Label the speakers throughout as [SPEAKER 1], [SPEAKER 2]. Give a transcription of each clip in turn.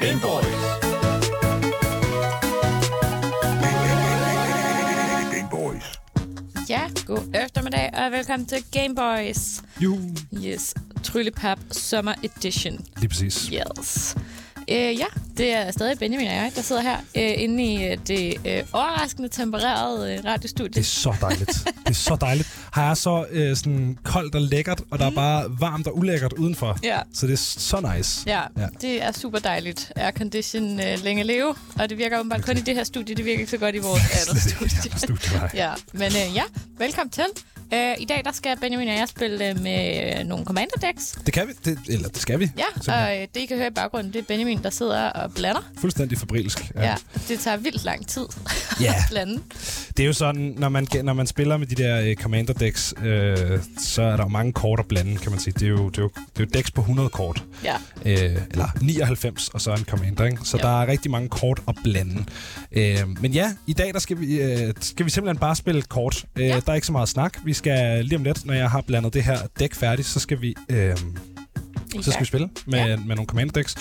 [SPEAKER 1] Gameboys. Gameboys.
[SPEAKER 2] Ja, god eftermiddag og velkommen til Game Boys.
[SPEAKER 3] Jo,
[SPEAKER 2] Yes, Tryllepap Summer Edition.
[SPEAKER 3] lige præcis.
[SPEAKER 2] Yes. Øh, ja, det er stadig Benjamin og jeg, der sidder her øh, inde i øh, det øh, overraskende tempererede øh,
[SPEAKER 3] Det
[SPEAKER 2] radiostudie.
[SPEAKER 3] er så dejligt. Det er så dejligt. Har jeg så øh, sådan koldt og lækkert, og der er bare varmt og ulækkert udenfor.
[SPEAKER 2] Mhm. Ja.
[SPEAKER 3] Så det er så nice.
[SPEAKER 2] Ja,
[SPEAKER 3] Ja.
[SPEAKER 2] det er super dejligt. Aircondition øh, længe leve, og det virker åbenbart kun i det her studie. Det virker ikke så godt i vores andet studie.
[SPEAKER 3] Studievej.
[SPEAKER 2] Ja, men øh, ja, velkommen til. Øh, I dag der skal Benjamin og jeg spille øh, med øh, nogle commander decks.
[SPEAKER 3] Det kan vi, det, eller det skal vi.
[SPEAKER 2] Ja,
[SPEAKER 3] Simpelthen.
[SPEAKER 2] og øh, det I kan høre i baggrunden, det er Benjamin, der sidder og blander.
[SPEAKER 3] Fuldstændig fabrilsk.
[SPEAKER 2] Ja. ja det tager vildt lang tid
[SPEAKER 3] Ja.
[SPEAKER 2] at blande.
[SPEAKER 3] Det er jo sådan, når man, når man spiller med de der øh, commander decks, øh, så er der jo mange kort at blande, kan man sige. Det er jo, det er jo, det er jo decks på 100 kort.
[SPEAKER 2] Ja.
[SPEAKER 3] øh, eller 99, og så en commander. Ikke? Så
[SPEAKER 2] Ja.
[SPEAKER 3] ja. der er rigtig mange kort at blande. Øh, men ja, i dag der skal, vi, øh, skal vi simpelthen bare spille kort. Øh,
[SPEAKER 2] Ja.
[SPEAKER 3] ja. Der er ikke så meget snak. Vi skal lige om lidt, når jeg har blandet det her dæk færdigt, så skal vi...
[SPEAKER 2] I
[SPEAKER 3] Øh, så skal vi
[SPEAKER 2] gang.
[SPEAKER 3] spille med,
[SPEAKER 2] Ja.
[SPEAKER 3] ja. med nogle commander decks.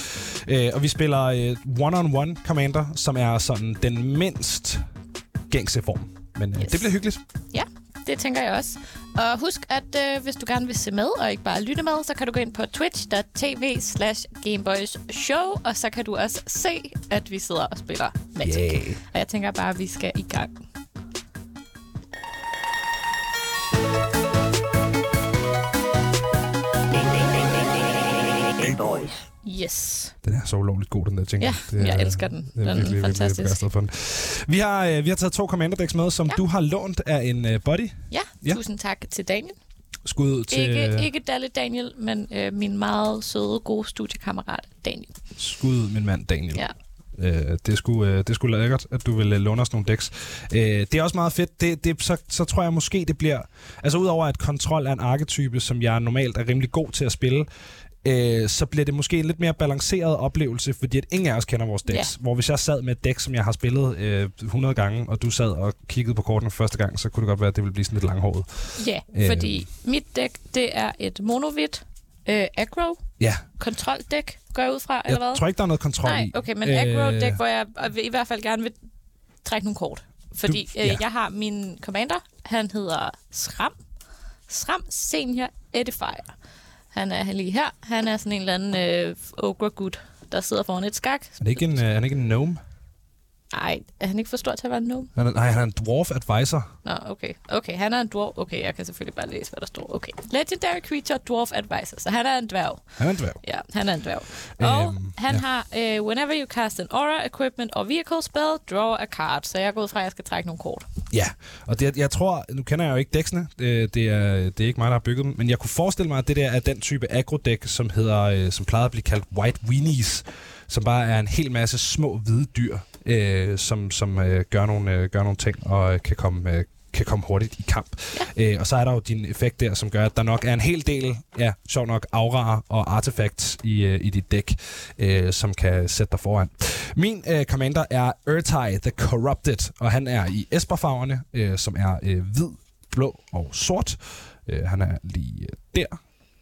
[SPEAKER 3] Øh, og vi spiller øh, one-on-one commander, som er sådan den mindst gængse form. Men øh,
[SPEAKER 2] Yes.
[SPEAKER 3] yes. det bliver hyggeligt.
[SPEAKER 2] Ja, det tænker jeg også. Og husk, at øh, hvis du gerne vil se med og ikke bare lytte med, så kan du gå ind på twitch.tv slash Gameboys Show, og så kan du også se, at vi sidder og spiller Magic.
[SPEAKER 3] Yeah.
[SPEAKER 2] Og jeg tænker bare, at vi skal i gang. Yes.
[SPEAKER 3] Den er så ulovligt god, den der ting.
[SPEAKER 2] Ja, jeg elsker den. Den er fantastisk.
[SPEAKER 3] Virkelig, for den. Vi har, øh, vi har taget to Commander Decks med, som
[SPEAKER 2] Ja.
[SPEAKER 3] ja. du har lånt af en øh, buddy.
[SPEAKER 2] Ja, ja,
[SPEAKER 3] Ja.
[SPEAKER 2] tusind tak til Daniel.
[SPEAKER 3] Skud til, øh,
[SPEAKER 2] Ikke, ikke Dalle Daniel, men øh, min meget søde, gode studiekammerat Daniel.
[SPEAKER 3] Skud min mand Daniel.
[SPEAKER 2] Ja.
[SPEAKER 3] Øh, det, skulle, øh, det skulle lækkert, at du vil øh, låne os nogle decks. Øh, det er også meget fedt. Det, det, så, så tror jeg måske, det bliver... Altså udover at kontrol er en arketype, som jeg normalt er rimelig god til at spille, øh, så bliver det måske en lidt mere balanceret oplevelse, fordi at ingen af os kender vores decks.
[SPEAKER 2] Ja.
[SPEAKER 3] Hvor hvis jeg sad med et deck, som jeg har spillet øh, 100 gange, og du sad og kiggede på kortene første gang, så kunne det godt være, at det ville blive sådan lidt langhåret.
[SPEAKER 2] Ja,
[SPEAKER 3] Øh.
[SPEAKER 2] fordi mit dæk, det er et monovit øh, aggro
[SPEAKER 3] Ja,
[SPEAKER 2] kontroldæk, går jeg ud fra, eller hvad?
[SPEAKER 3] jeg tror ikke, der er noget kontrol
[SPEAKER 2] Nej,
[SPEAKER 3] i.
[SPEAKER 2] okay, men aggro dæk, hvor jeg øh, vil- i hvert fald gerne vil trække nogle kort. Fordi du,
[SPEAKER 3] Du-
[SPEAKER 2] ja.
[SPEAKER 3] ja.
[SPEAKER 2] øh, jeg har min commander, han hedder Sram. Sram Senior Edifier. Han er lige her. Han er sådan en eller anden øh, ogre gut, der sidder foran et skak.
[SPEAKER 3] Er det ikke en, øh, er det ikke en gnome?
[SPEAKER 2] Nej, er han ikke for stor til at være en gnome?
[SPEAKER 3] Han er, nej, han er en dwarf advisor.
[SPEAKER 2] Nå, okay. Okay, han er en dwarf. Okay, jeg kan selvfølgelig bare læse, hvad der står. Okay. Legendary Creature Dwarf Advisor. Så han er en dværg.
[SPEAKER 3] Han er en dværg.
[SPEAKER 2] Ja, han er en dværg. Og
[SPEAKER 3] Øhm,
[SPEAKER 2] han
[SPEAKER 3] ja.
[SPEAKER 2] har, øh, whenever you cast an aura, equipment or vehicle spell, draw a card. Så jeg er gået fra, at jeg skal trække nogle kort.
[SPEAKER 3] Ja, og det, jeg tror, nu kender jeg jo ikke dæksene, øh, det er, det er ikke mig, der har bygget dem, men jeg kunne forestille mig, at det der er den type agrodæk, som, hedder, øh, som plejer at blive kaldt white weenies, som bare er en hel masse små hvide dyr, øh, som, som øh, gør, nogle, øh, gør nogle ting og øh, kan komme øh, kan komme hurtigt i kamp. Ja. Øh, og så er der jo din effekt der, som gør, at der nok er en hel del, ja, sjov nok, auraer og artefacts i, øh, i dit dæk, øh, som kan sætte dig foran. Min øh, commander er Urtai the Corrupted, og han er i Esper-farverne, øh, som er øh, hvid, blå og sort. Øh, han er lige øh, der.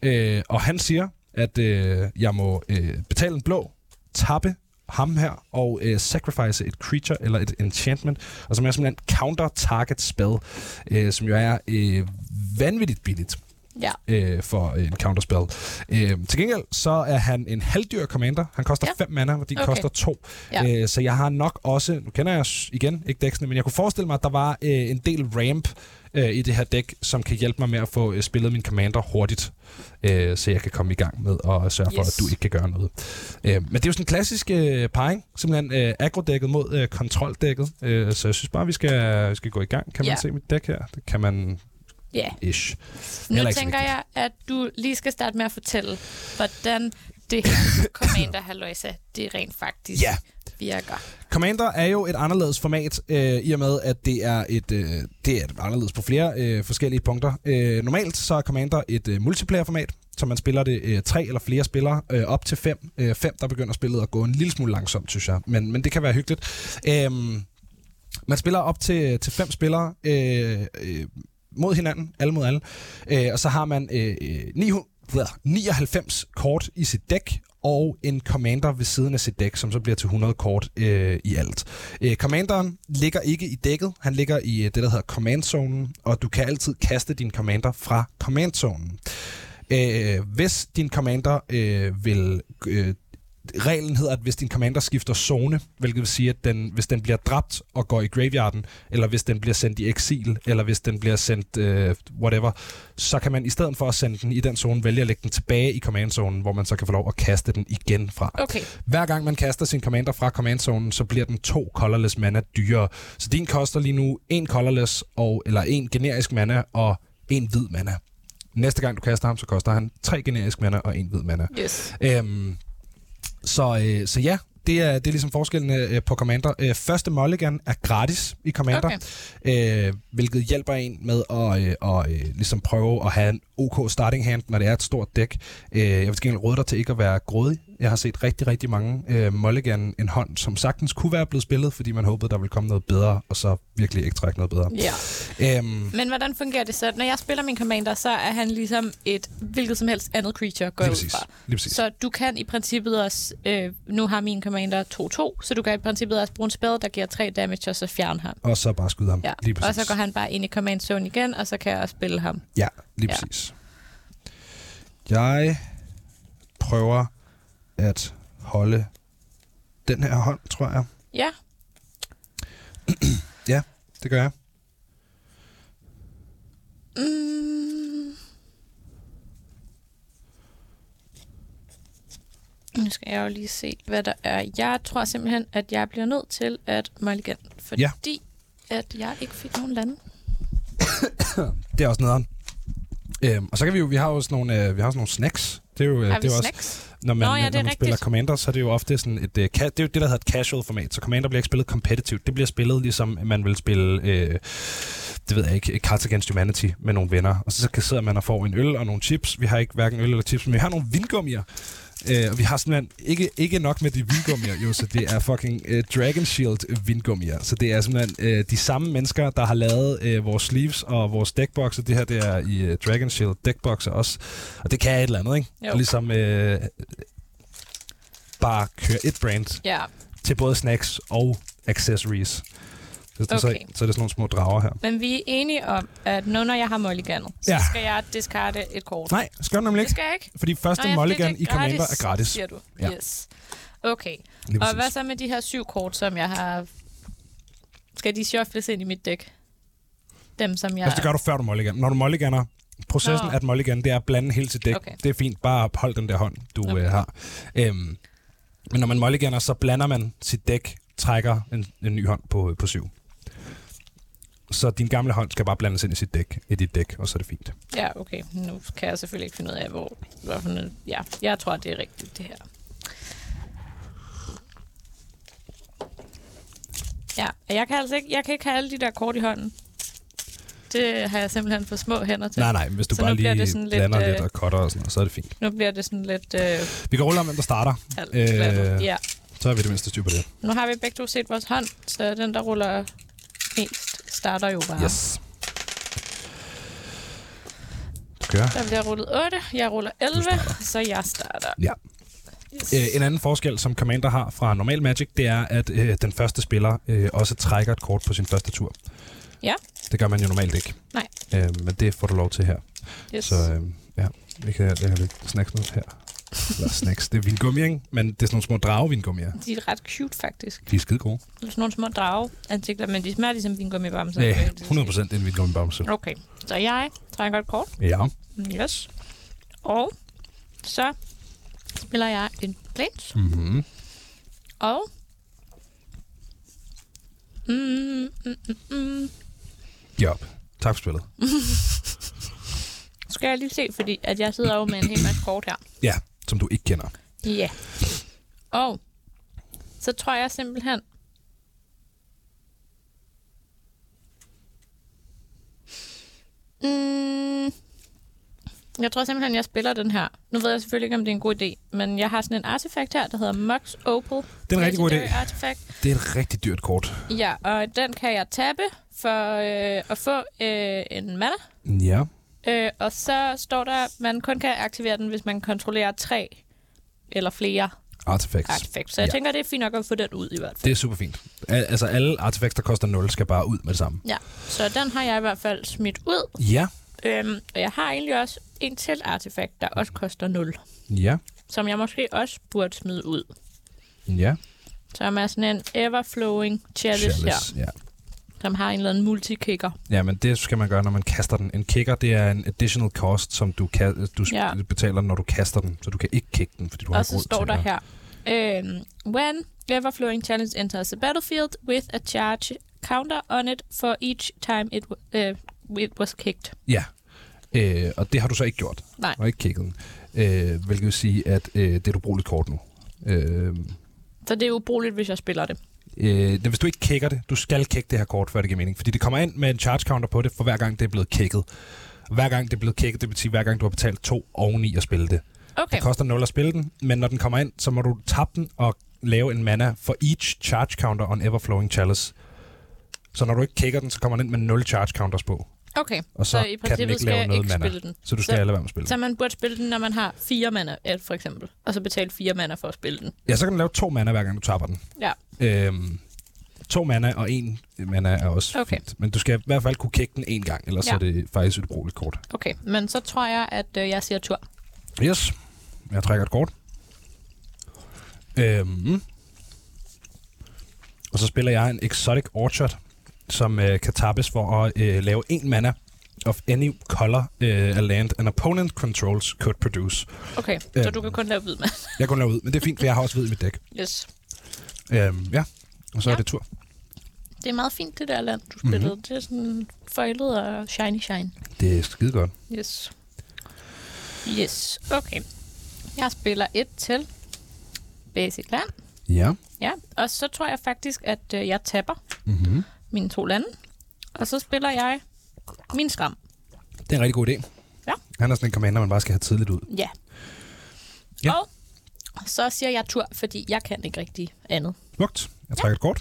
[SPEAKER 3] Øh, og han siger, at øh, jeg må øh, betale en blå, tappe ham her og øh, sacrifice et creature eller et enchantment, og som er simpelthen counter-target spell, øh, som jo er øh, vanvittigt billigt
[SPEAKER 2] Ja.
[SPEAKER 3] øh, for en counterspell. Øh, til gengæld så er han en halvdyr commander. Han koster
[SPEAKER 2] Ja.
[SPEAKER 3] 5 mana, og de
[SPEAKER 2] Okay.
[SPEAKER 3] okay. koster 2.
[SPEAKER 2] Ja.
[SPEAKER 3] Ja. Øh, så jeg har nok også, nu kender jeg s- igen ikke dæksene, men jeg kunne forestille mig, at der var øh, en del ramp øh, i det her dæk, som kan hjælpe mig med at få øh, spillet min commander hurtigt, øh, så jeg kan komme i gang med at sørge for,
[SPEAKER 2] Yes.
[SPEAKER 3] at du ikke kan gøre noget. Øh, men det er jo sådan en klassisk øh, parring, simpelthen øh, agrodækket mod øh, kontroldækket, øh, så jeg synes bare, vi skal, vi skal gå i gang. Kan man
[SPEAKER 2] Ja.
[SPEAKER 3] se mit dæk her? Det kan man
[SPEAKER 2] Ja. Yeah.
[SPEAKER 3] ish.
[SPEAKER 2] Nu
[SPEAKER 3] Heller ikke så
[SPEAKER 2] tænker
[SPEAKER 3] vigtigt.
[SPEAKER 2] jeg, at du lige skal starte med at fortælle, hvordan det her Commander Haloisa, det rent faktisk
[SPEAKER 3] Ja.
[SPEAKER 2] virker.
[SPEAKER 3] Commander er jo et anderledes format, øh, i og med at det er et øh, det er et anderledes på flere øh, forskellige punkter. Øh, normalt så er Commander et øh, multiplayer-format, så man spiller det øh, tre eller flere spillere, øh, op til fem. Øh, fem, der begynder spillet at gå en lille smule langsomt, synes jeg. Men, men det kan være hyggeligt. Øh, man spiller op til, til fem spillere øh, øh, mod hinanden, alle mod alle. Øh, og så har man øh, øh, 900, 99 kort i sit dæk, og en commander ved siden af sit dæk, som så bliver til 100 kort øh, i alt. Øh, commanderen ligger ikke i dækket, han ligger i øh, det, der hedder command zonen, og du kan altid kaste din commander fra command zonen. Øh, hvis din commander øh, vil... Øh, reglen hedder, at hvis din commander skifter zone, hvilket vil sige, at den, hvis den bliver dræbt og går i graveyarden, eller hvis den bliver sendt i eksil, eller hvis den bliver sendt øh, whatever, så kan man i stedet for at sende den i den zone, vælge at lægge den tilbage i command-zonen, hvor man så kan få lov at kaste den igen fra.
[SPEAKER 2] Okay.
[SPEAKER 3] Hver gang man kaster sin commander fra command-zonen, så bliver den to colorless mana dyrere. Så din koster lige nu en colorless, og, eller en generisk mana og en hvid mana. Næste gang du kaster ham, så koster han tre generisk mana og en hvid mana.
[SPEAKER 2] Yes.
[SPEAKER 3] Øhm, så, øh, så ja, det er, det er ligesom forskellen øh, på Commander. Øh, første mulligan er gratis i Commander, okay. øh, hvilket hjælper en med at øh, og, øh, ligesom prøve at have en OK starting hand, når det er et stort dæk. Øh, jeg vil til gengæld råde dig til ikke at være grådig. Jeg har set rigtig, rigtig mange øh, mulligan en hånd, som sagtens kunne være blevet spillet, fordi man håbede, der ville komme noget bedre, og så virkelig ikke trække noget bedre.
[SPEAKER 2] Ja.
[SPEAKER 3] Øhm,
[SPEAKER 2] Men hvordan fungerer det så? Når jeg spiller min commander, så er han ligesom et hvilket som helst andet creature, går
[SPEAKER 3] lige
[SPEAKER 2] jeg ud
[SPEAKER 3] præcis.
[SPEAKER 2] fra.
[SPEAKER 3] Lige præcis.
[SPEAKER 2] Så du kan i princippet også, øh, nu har min commander 2-2, så du kan i princippet også bruge en spell, der giver 3 damage, og så fjerne ham.
[SPEAKER 3] Og så bare skyde ham.
[SPEAKER 2] Ja.
[SPEAKER 3] Lige præcis.
[SPEAKER 2] Og så går han bare ind i command zone igen, og så kan jeg også spille ham.
[SPEAKER 3] Ja, lige
[SPEAKER 2] Ja.
[SPEAKER 3] præcis. Jeg prøver at holde den her hånd, tror jeg.
[SPEAKER 2] Ja,
[SPEAKER 3] Ja, det gør jeg.
[SPEAKER 2] Mm. Nu skal jeg jo lige se, hvad der er. Jeg tror simpelthen, at jeg bliver nødt til at mulligan, fordi
[SPEAKER 3] Ja. Øh,
[SPEAKER 2] at jeg ikke fik nogen lande.
[SPEAKER 3] Det er også nederen. Øhm, og så kan vi jo, vi har jo sådan nogle, øh, vi har sådan nogle snacks. Det er jo,
[SPEAKER 2] Har
[SPEAKER 3] øh,
[SPEAKER 2] vi
[SPEAKER 3] det er jo også,
[SPEAKER 2] snacks?
[SPEAKER 3] når man,
[SPEAKER 2] Nå ja, det
[SPEAKER 3] øh,
[SPEAKER 2] er
[SPEAKER 3] når man
[SPEAKER 2] rigtigt.
[SPEAKER 3] spiller Commander, så er det jo ofte sådan et, øh, ka- det er jo det, der hedder et casual format. Så Commander bliver ikke spillet competitivt. Det bliver spillet ligesom, man vil spille, øh, det ved jeg ikke, Cards Against Humanity med nogle venner. Og så, så sidder man og får en øl og nogle chips. Vi har ikke hverken øl eller chips, men vi har nogle vingummier. Øh, og vi har simpelthen ikke, ikke nok med de vingummier, jo, så det er fucking øh, Dragon Shield vingummier. Så det er simpelthen øh, de samme mennesker, der har lavet øh, vores sleeves og vores deckboxer. Det her, det er i øh, Dragon Shield deckboxer også. Og det kan et eller andet, ikke?
[SPEAKER 2] Jo.
[SPEAKER 3] Ligesom øh, bare køre et brand
[SPEAKER 2] Ja,
[SPEAKER 3] til både snacks og accessories. Så, okay. så, så er
[SPEAKER 2] Okay.
[SPEAKER 3] det sådan nogle små drager her.
[SPEAKER 2] men vi er enige om, at nu når jeg har mulliganet, så
[SPEAKER 3] Ja.
[SPEAKER 2] skal jeg discarde et kort.
[SPEAKER 3] Nej, skal du nemlig
[SPEAKER 2] Det
[SPEAKER 3] ikke.
[SPEAKER 2] skal jeg ikke.
[SPEAKER 3] Fordi første
[SPEAKER 2] Nå, ja, fordi
[SPEAKER 3] mulligan
[SPEAKER 2] det
[SPEAKER 3] i Commander er gratis.
[SPEAKER 2] Siger du.
[SPEAKER 3] Ja.
[SPEAKER 2] Ja. Yes. Okay.
[SPEAKER 3] Lige
[SPEAKER 2] Og hvad
[SPEAKER 3] præcis.
[SPEAKER 2] så med de her syv kort, som jeg har... Skal de shuffles ind i mit dæk? Dem, som jeg...
[SPEAKER 3] Altså, det gør du før du mulligan. Når du mulliganer, processen
[SPEAKER 2] Nå.
[SPEAKER 3] at mulligan, det er at blande hele sit dæk. Okay.
[SPEAKER 2] Okay.
[SPEAKER 3] Det er fint, bare hold den der hånd, du okay.
[SPEAKER 2] Okay.
[SPEAKER 3] øh, har. Øhm, men når man mulliganer, så blander man sit dæk, trækker en, en ny hånd på, øh, på syv. Så din gamle hånd skal bare blandes ind i sit dæk, i dit dæk, og så er det fint.
[SPEAKER 2] Ja, okay. Nu kan jeg selvfølgelig ikke finde ud af, hvor... Hvorfor nu... Ja, jeg tror, det er rigtigt, det her. Ja, og jeg kan altså ikke, jeg kan ikke have alle de der kort i hånden. Det har jeg simpelthen for små hænder til.
[SPEAKER 3] Nej, nej, hvis du
[SPEAKER 2] Så
[SPEAKER 3] bare
[SPEAKER 2] nu bliver
[SPEAKER 3] lige
[SPEAKER 2] det sådan lidt,
[SPEAKER 3] blander lidt,
[SPEAKER 2] øh,
[SPEAKER 3] og cutter og sådan noget, så er det fint.
[SPEAKER 2] Nu bliver det sådan lidt øh,
[SPEAKER 3] Vi kan rulle om, hvem der starter.
[SPEAKER 2] alt
[SPEAKER 3] Øh.
[SPEAKER 2] øh... Ja.
[SPEAKER 3] Så er vi det mindste styr på det.
[SPEAKER 2] Nu har vi begge to set vores hånd, så den, der ruller mest, starter jo bare.
[SPEAKER 3] Yes. Du kører.
[SPEAKER 2] Der bliver rullet 8, jeg ruller 11, så jeg starter.
[SPEAKER 3] Ja.
[SPEAKER 2] Yes.
[SPEAKER 3] Øh, en anden forskel, som Commander har fra normal Magic, det er, at øh, den første spiller øh, også trækker et kort på sin første tur.
[SPEAKER 2] Ja.
[SPEAKER 3] Det gør man jo normalt ikke.
[SPEAKER 2] Nej.
[SPEAKER 3] Øh, men det får du lov til her.
[SPEAKER 2] Yes.
[SPEAKER 3] Så øh, ja, vi kan jeg kan lidt snacks noget her. Eller snacks, det er vingummi, ikke? Men det er sådan nogle små dragevingummier.
[SPEAKER 2] De er ret cute, faktisk.
[SPEAKER 3] De er skide gode.
[SPEAKER 2] Sådan nogle små drage ansigter, men de smager ligesom vingummibamser.
[SPEAKER 3] Ja, 100% en vingummibamse.
[SPEAKER 2] Okay, så jeg trækker et kort.
[SPEAKER 3] Ja.
[SPEAKER 2] Yes. Og så spiller jeg en plains.
[SPEAKER 3] Mm-hmm.
[SPEAKER 2] Og... Mm, mm, mm, mm.
[SPEAKER 3] Ja. Tak for spillet.
[SPEAKER 2] Skal jeg lige se, fordi at jeg sidder jo med en hel masse kort her.
[SPEAKER 3] Ja, som du ikke kender.
[SPEAKER 2] Ja. Og så tror jeg simpelthen... Mm, jeg tror simpelthen, jeg spiller den her. Nu ved jeg selvfølgelig ikke, om det er en god idé, men jeg har sådan en artefakt her, der hedder Mox Opal.
[SPEAKER 3] Det er en rigtig god idé.
[SPEAKER 2] Legendary Artifact.
[SPEAKER 3] Det er et rigtig dyrt kort.
[SPEAKER 2] Ja, og den kan jeg tabe for øh, at få øh, en mana.
[SPEAKER 3] Ja.
[SPEAKER 2] Øh, og så står der, at man kun kan aktivere den, hvis man kontrollerer tre eller flere
[SPEAKER 3] Artifacts.
[SPEAKER 2] artefakter. Så jeg
[SPEAKER 3] Ja.
[SPEAKER 2] ja. tænker, det er fint nok at få den ud i hvert fald.
[SPEAKER 3] Det er super fint. Al- altså alle artefacts, der koster 0, skal bare ud med det samme.
[SPEAKER 2] Ja, så den har jeg i hvert fald smidt ud.
[SPEAKER 3] Ja.
[SPEAKER 2] Øhm, og jeg har egentlig også en til artefakt, der også koster 0,
[SPEAKER 3] Ja.
[SPEAKER 2] som jeg måske også burde smide ud.
[SPEAKER 3] Ja.
[SPEAKER 2] Som er sådan en everflowing chalice her,
[SPEAKER 3] Ja.
[SPEAKER 2] som har en eller anden multikicker.
[SPEAKER 3] ja, men det skal man gøre, når man kaster den. En kicker, det er en additional cost, som du, kan, du ja.
[SPEAKER 2] Ja.
[SPEAKER 3] betaler, når du kaster den. Så du kan ikke kigge den, fordi du har
[SPEAKER 2] Og
[SPEAKER 3] ikke
[SPEAKER 2] så
[SPEAKER 3] råd
[SPEAKER 2] står
[SPEAKER 3] til
[SPEAKER 2] der
[SPEAKER 3] det.
[SPEAKER 2] her, øhm, When everflowing chalice enters the battlefield with a charge counter on it for each time it, uh, it was kicked.
[SPEAKER 3] Ja. Øh, og det har du så ikke gjort.
[SPEAKER 2] Nej.
[SPEAKER 3] Du har ikke kigget den. Øh, hvilket vil sige, at øh, det er et ubrugeligt kort nu. Øh,
[SPEAKER 2] Så det er ubrugeligt, hvis jeg spiller det.
[SPEAKER 3] øh, det- hvis du ikke kigger det, du skal kigge det her kort, før det giver mening. Fordi det kommer ind med en charge counter på det, for hver gang det er blevet kigget. Hver gang det er blevet kigget, det betyder, hver gang du har betalt to oveni at spille det.
[SPEAKER 2] Okay,
[SPEAKER 3] Det koster 0 at spille den, men når den kommer ind, så må du tappe den og lave en mana for each charge counter on Everflowing Chalice. Så når du ikke kigger den, så kommer den ind med 0 charge counters på.
[SPEAKER 2] okay.
[SPEAKER 3] Og så,
[SPEAKER 2] Så i
[SPEAKER 3] kan den
[SPEAKER 2] princippet
[SPEAKER 3] ikke
[SPEAKER 2] skal
[SPEAKER 3] lave
[SPEAKER 2] jeg
[SPEAKER 3] noget
[SPEAKER 2] ikke
[SPEAKER 3] mana.
[SPEAKER 2] spille den.
[SPEAKER 3] Så du skal
[SPEAKER 2] Så-
[SPEAKER 3] lade være med at spille
[SPEAKER 2] Så
[SPEAKER 3] den.
[SPEAKER 2] man burde spille den, når man har fire mana, øh, for eksempel. Og så betale fire mana for at spille den.
[SPEAKER 3] Ja, så kan den lave to mana, hver gang du tapper den.
[SPEAKER 2] Ja,
[SPEAKER 3] Øhm, to mana og en mana er også
[SPEAKER 2] Okay.
[SPEAKER 3] fint. Men du skal i hvert fald kunne kigge den en gang, ellers
[SPEAKER 2] Ja.
[SPEAKER 3] ja. er det faktisk et brugeligt kort.
[SPEAKER 2] okay. Men så tror jeg, at øh, jeg siger tur.
[SPEAKER 3] Yes. Jeg trækker et kort. Øhm. Og så spiller jeg en Exotic Orchard, som øh, kan tappes for at øh, lave en mana of any color øh, a land an opponent controls could produce.
[SPEAKER 2] Okay, så
[SPEAKER 3] Øhm.
[SPEAKER 2] du kan kun lave hvid mand.
[SPEAKER 3] Jeg kunne lave ud, men det er fint, for jeg har også hvid i mit dæk.
[SPEAKER 2] Yes.
[SPEAKER 3] Øhm, ja, og så ja. er
[SPEAKER 2] Ja.
[SPEAKER 3] det tur.
[SPEAKER 2] Det er meget fint, det der land, du spillede.
[SPEAKER 3] Mhm.
[SPEAKER 2] Mm-hmm. Det er sådan forælet og shiny shine.
[SPEAKER 3] Det er skide godt.
[SPEAKER 2] Yes. Yes, okay. Jeg spiller et til Basic Land.
[SPEAKER 3] Ja.
[SPEAKER 2] Ja, og så tror jeg faktisk, at øh, jeg tapper
[SPEAKER 3] Mm-hmm.
[SPEAKER 2] mine to lande. Og så spiller jeg min skam.
[SPEAKER 3] Det er en rigtig god idé.
[SPEAKER 2] Ja.
[SPEAKER 3] Han er sådan en commander, man bare skal have tidligt ud.
[SPEAKER 2] Ja.
[SPEAKER 3] Ja.
[SPEAKER 2] Og så siger jeg tur, fordi jeg kan ikke rigtig andet.
[SPEAKER 3] Smukt. Jeg trækker et kort.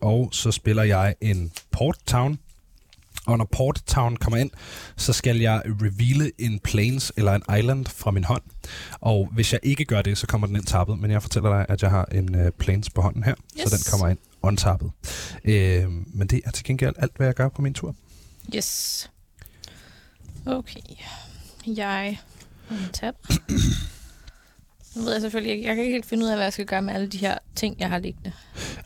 [SPEAKER 3] Og så spiller jeg en Port Town. Og når Port Town kommer ind, så skal jeg reveale en plains eller en island fra min hånd. Og hvis jeg ikke gør det, så kommer den ind tappet. Men jeg fortæller dig, at jeg har en uh, plains på hånden her, yes. så
[SPEAKER 2] Yes.
[SPEAKER 3] den kommer ind untappet. Øh, men det er til gengæld alt, hvad jeg gør på min tur.
[SPEAKER 2] Yes. Okay. Jeg tab. Nu ved jeg selvfølgelig ikke. Jeg kan ikke helt finde ud af, hvad jeg skal gøre med alle de her ting, jeg har liggende.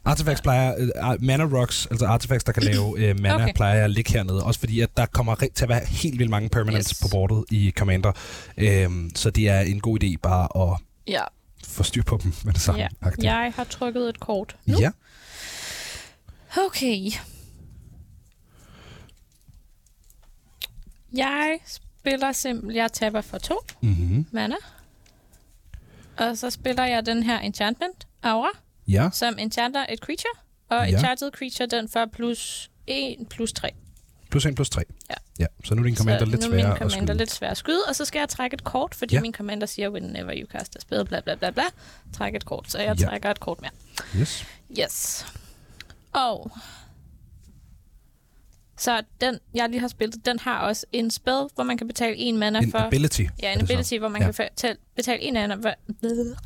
[SPEAKER 3] Artifacts plejer, øh, ar- mana rocks, altså artifacts, der kan lave øh, mana, okay.
[SPEAKER 2] Okay.
[SPEAKER 3] plejer jeg at ligge hernede. Også fordi, at der kommer ri- til at være helt vildt mange permanents yes.
[SPEAKER 2] Yes.
[SPEAKER 3] på bordet i Commander. Øhm, så det er en god idé bare at
[SPEAKER 2] Ja.
[SPEAKER 3] få styr på dem med det samme.
[SPEAKER 2] ja.
[SPEAKER 3] agtigt.
[SPEAKER 2] Jeg har trykket et kort nu.
[SPEAKER 3] ja.
[SPEAKER 2] Okay. Jeg spiller simpelthen... Jeg taber for to
[SPEAKER 3] Mm-hmm.
[SPEAKER 2] mana. Og så spiller jeg den her enchantment, Aura.
[SPEAKER 3] ja.
[SPEAKER 2] som enchanter et creature, og
[SPEAKER 3] Ja.
[SPEAKER 2] ja. enchanted creature, den får plus 1 plus 3.
[SPEAKER 3] Plus 1 plus 3.
[SPEAKER 2] Ja.
[SPEAKER 3] ja. Så nu er din commander
[SPEAKER 2] så
[SPEAKER 3] lidt
[SPEAKER 2] nu er min
[SPEAKER 3] sværere at skyde.
[SPEAKER 2] commander lidt svær at skyde, og så skal jeg trække et kort, fordi
[SPEAKER 3] Ja.
[SPEAKER 2] ja. min commander siger, whenever you cast a spell, bla bla bla bla, træk et kort, så jeg
[SPEAKER 3] Ja.
[SPEAKER 2] ja. trækker et kort mere.
[SPEAKER 3] Yes.
[SPEAKER 2] Yes. Og så den, jeg lige har spillet, den har også en spell, hvor man kan betale en mana
[SPEAKER 3] En
[SPEAKER 2] for...
[SPEAKER 3] ability.
[SPEAKER 2] Ja,
[SPEAKER 3] er
[SPEAKER 2] en
[SPEAKER 3] det så.
[SPEAKER 2] ability, hvor man
[SPEAKER 3] Ja.
[SPEAKER 2] ja. kan betale, betale en, anden,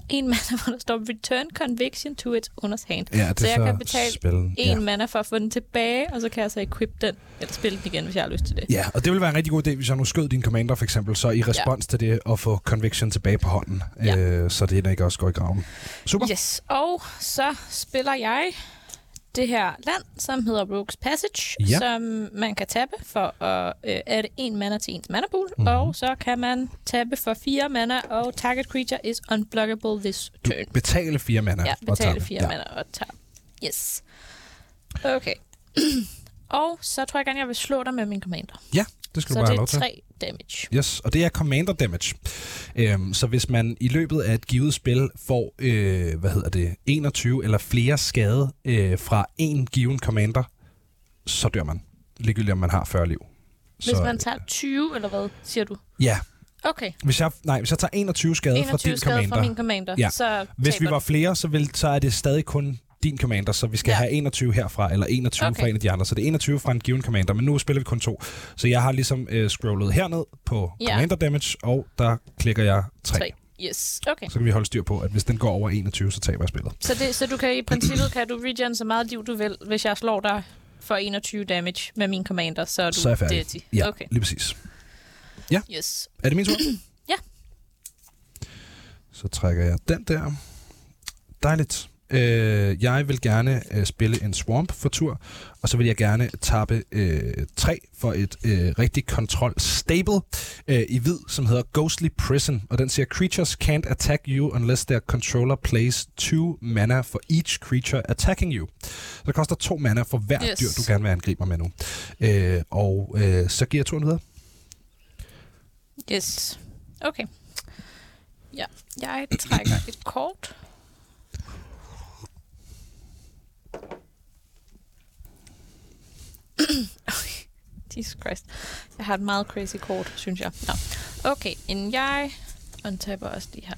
[SPEAKER 2] en mana, hvor der står Return Conviction to its owner's hand.
[SPEAKER 3] Ja, det
[SPEAKER 2] så
[SPEAKER 3] er
[SPEAKER 2] jeg
[SPEAKER 3] så
[SPEAKER 2] kan betale
[SPEAKER 3] spillen.
[SPEAKER 2] en
[SPEAKER 3] ja.
[SPEAKER 2] ja. mana for at få den tilbage, og så kan jeg så equip den, eller spille den igen, hvis jeg har lyst til det.
[SPEAKER 3] Ja, og det ville være en rigtig god idé, hvis jeg nu skød din commander for eksempel, så i respons ja. til det at få conviction tilbage på hånden,
[SPEAKER 2] Ja.
[SPEAKER 3] øh, så det ikke også går i graven. Super.
[SPEAKER 2] Yes, og så spiller jeg det her land, som hedder Rogue's Passage,
[SPEAKER 3] Ja.
[SPEAKER 2] som man kan tappe for at øh, adde en mana til ens mana pool,
[SPEAKER 3] Mhm.
[SPEAKER 2] mm-hmm. og så kan man tappe for fire mana, og target creature is unblockable this
[SPEAKER 3] Du
[SPEAKER 2] turn.
[SPEAKER 3] betaler fire mana.
[SPEAKER 2] Ja,
[SPEAKER 3] og tager
[SPEAKER 2] betale
[SPEAKER 3] det.
[SPEAKER 2] fire ja. mana og tappe. Yes. Okay. og så tror jeg gerne, jeg vil slå dig med min commander.
[SPEAKER 3] Ja, det skal
[SPEAKER 2] Så
[SPEAKER 3] du bare
[SPEAKER 2] det
[SPEAKER 3] have lov
[SPEAKER 2] er
[SPEAKER 3] til.
[SPEAKER 2] tre damage.
[SPEAKER 3] Yes, og det er commander damage. Øhm, så hvis man i løbet af et givet spil får, øh, hvad hedder det, 21 eller flere skade øh, fra en given commander, så dør man. Ligegyldigt om man har 40 liv.
[SPEAKER 2] Hvis
[SPEAKER 3] så,
[SPEAKER 2] man tager 20, eller hvad siger du?
[SPEAKER 3] Ja,
[SPEAKER 2] Okay.
[SPEAKER 3] hvis jeg, nej, hvis jeg tager 21 skade
[SPEAKER 2] 21
[SPEAKER 3] fra din
[SPEAKER 2] skade
[SPEAKER 3] commander,
[SPEAKER 2] fra min commander.
[SPEAKER 3] Ja.
[SPEAKER 2] Så
[SPEAKER 3] hvis vi
[SPEAKER 2] taber
[SPEAKER 3] var
[SPEAKER 2] den.
[SPEAKER 3] flere, så, vil, så er det stadig kun din commander, så vi skal
[SPEAKER 2] Ja.
[SPEAKER 3] ja. have 21 herfra, eller 21
[SPEAKER 2] Okay.
[SPEAKER 3] okay. fra en af de andre. Så det er 21 fra en given commander, men nu spiller vi kun to. Så jeg har ligesom øh, scrollet herned på
[SPEAKER 2] Ja.
[SPEAKER 3] ja. commander damage, og der klikker jeg 3. 3.
[SPEAKER 2] Tre. Yes, okay.
[SPEAKER 3] Så kan vi holde styr på, at hvis den går over 21, så taber jeg spillet.
[SPEAKER 2] Så, det, så du kan i princippet kan du regen så meget liv, du vil, hvis jeg slår dig for 21 damage med min commander, så er du
[SPEAKER 3] Så er jeg færdig.
[SPEAKER 2] deity.
[SPEAKER 3] Ja,
[SPEAKER 2] Okay,
[SPEAKER 3] okay. lige præcis.
[SPEAKER 2] yes.
[SPEAKER 3] Er det min tur?
[SPEAKER 2] Ja.
[SPEAKER 3] Så trækker jeg den der. Dejligt. Øh, jeg vil gerne øh, spille en Swamp for tur, og så vil jeg gerne tappe øh, 3 for et øh, rigtig kontrol stable øh, i hvid, som hedder Ghostly Prison, og den siger, Creatures can't attack you unless their controller plays 2 mana for each creature attacking you. Så det koster 2 mana for hver
[SPEAKER 2] Yes.
[SPEAKER 3] yes. dyr, du gerne vil angribe mig med nu. Øh, og øh, så giver jeg turen videre.
[SPEAKER 2] Yes. Okay. Ja, jeg trækker et kort. Okay. Jesus Christ. Jeg har et meget crazy kort, synes jeg. Nå. Okay, inden jeg untapper også de her.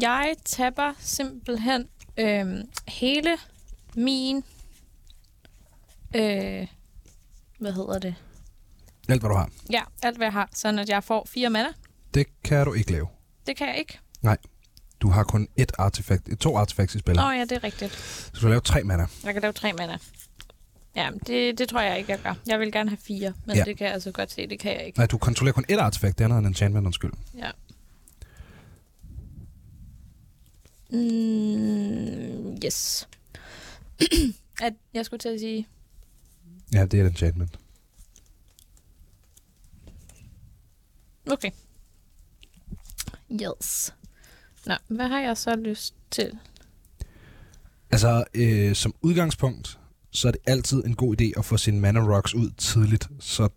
[SPEAKER 2] Jeg tapper simpelthen øhm, hele min... Øh, hvad hedder det?
[SPEAKER 3] Alt hvad du har.
[SPEAKER 2] Ja, alt hvad jeg har, sådan at jeg får fire mana.
[SPEAKER 3] Det kan du ikke lave.
[SPEAKER 2] Det kan jeg ikke.
[SPEAKER 3] Nej. Du har kun et artefakt, to artefakts i spil.
[SPEAKER 2] Nå ja, det er rigtigt.
[SPEAKER 3] Så du skal lave tre mana.
[SPEAKER 2] Jeg kan lave tre mana. Ja, men det, det tror jeg ikke, jeg gør. Jeg vil gerne have fire, men ja.
[SPEAKER 3] Ja.
[SPEAKER 2] det kan jeg altså godt se, det kan jeg ikke.
[SPEAKER 3] Nej, du kontrollerer kun et artefakt. Det andet er en enchantment, undskyld.
[SPEAKER 2] Ja. Mm, yes. At jeg skulle til at sige...
[SPEAKER 3] Ja, det er et enchantment.
[SPEAKER 2] Okay. Yes. Nå, hvad har jeg så lyst til?
[SPEAKER 3] Altså, øh, som udgangspunkt, så er det altid en god idé at få sine mana rocks ud tidligt. Så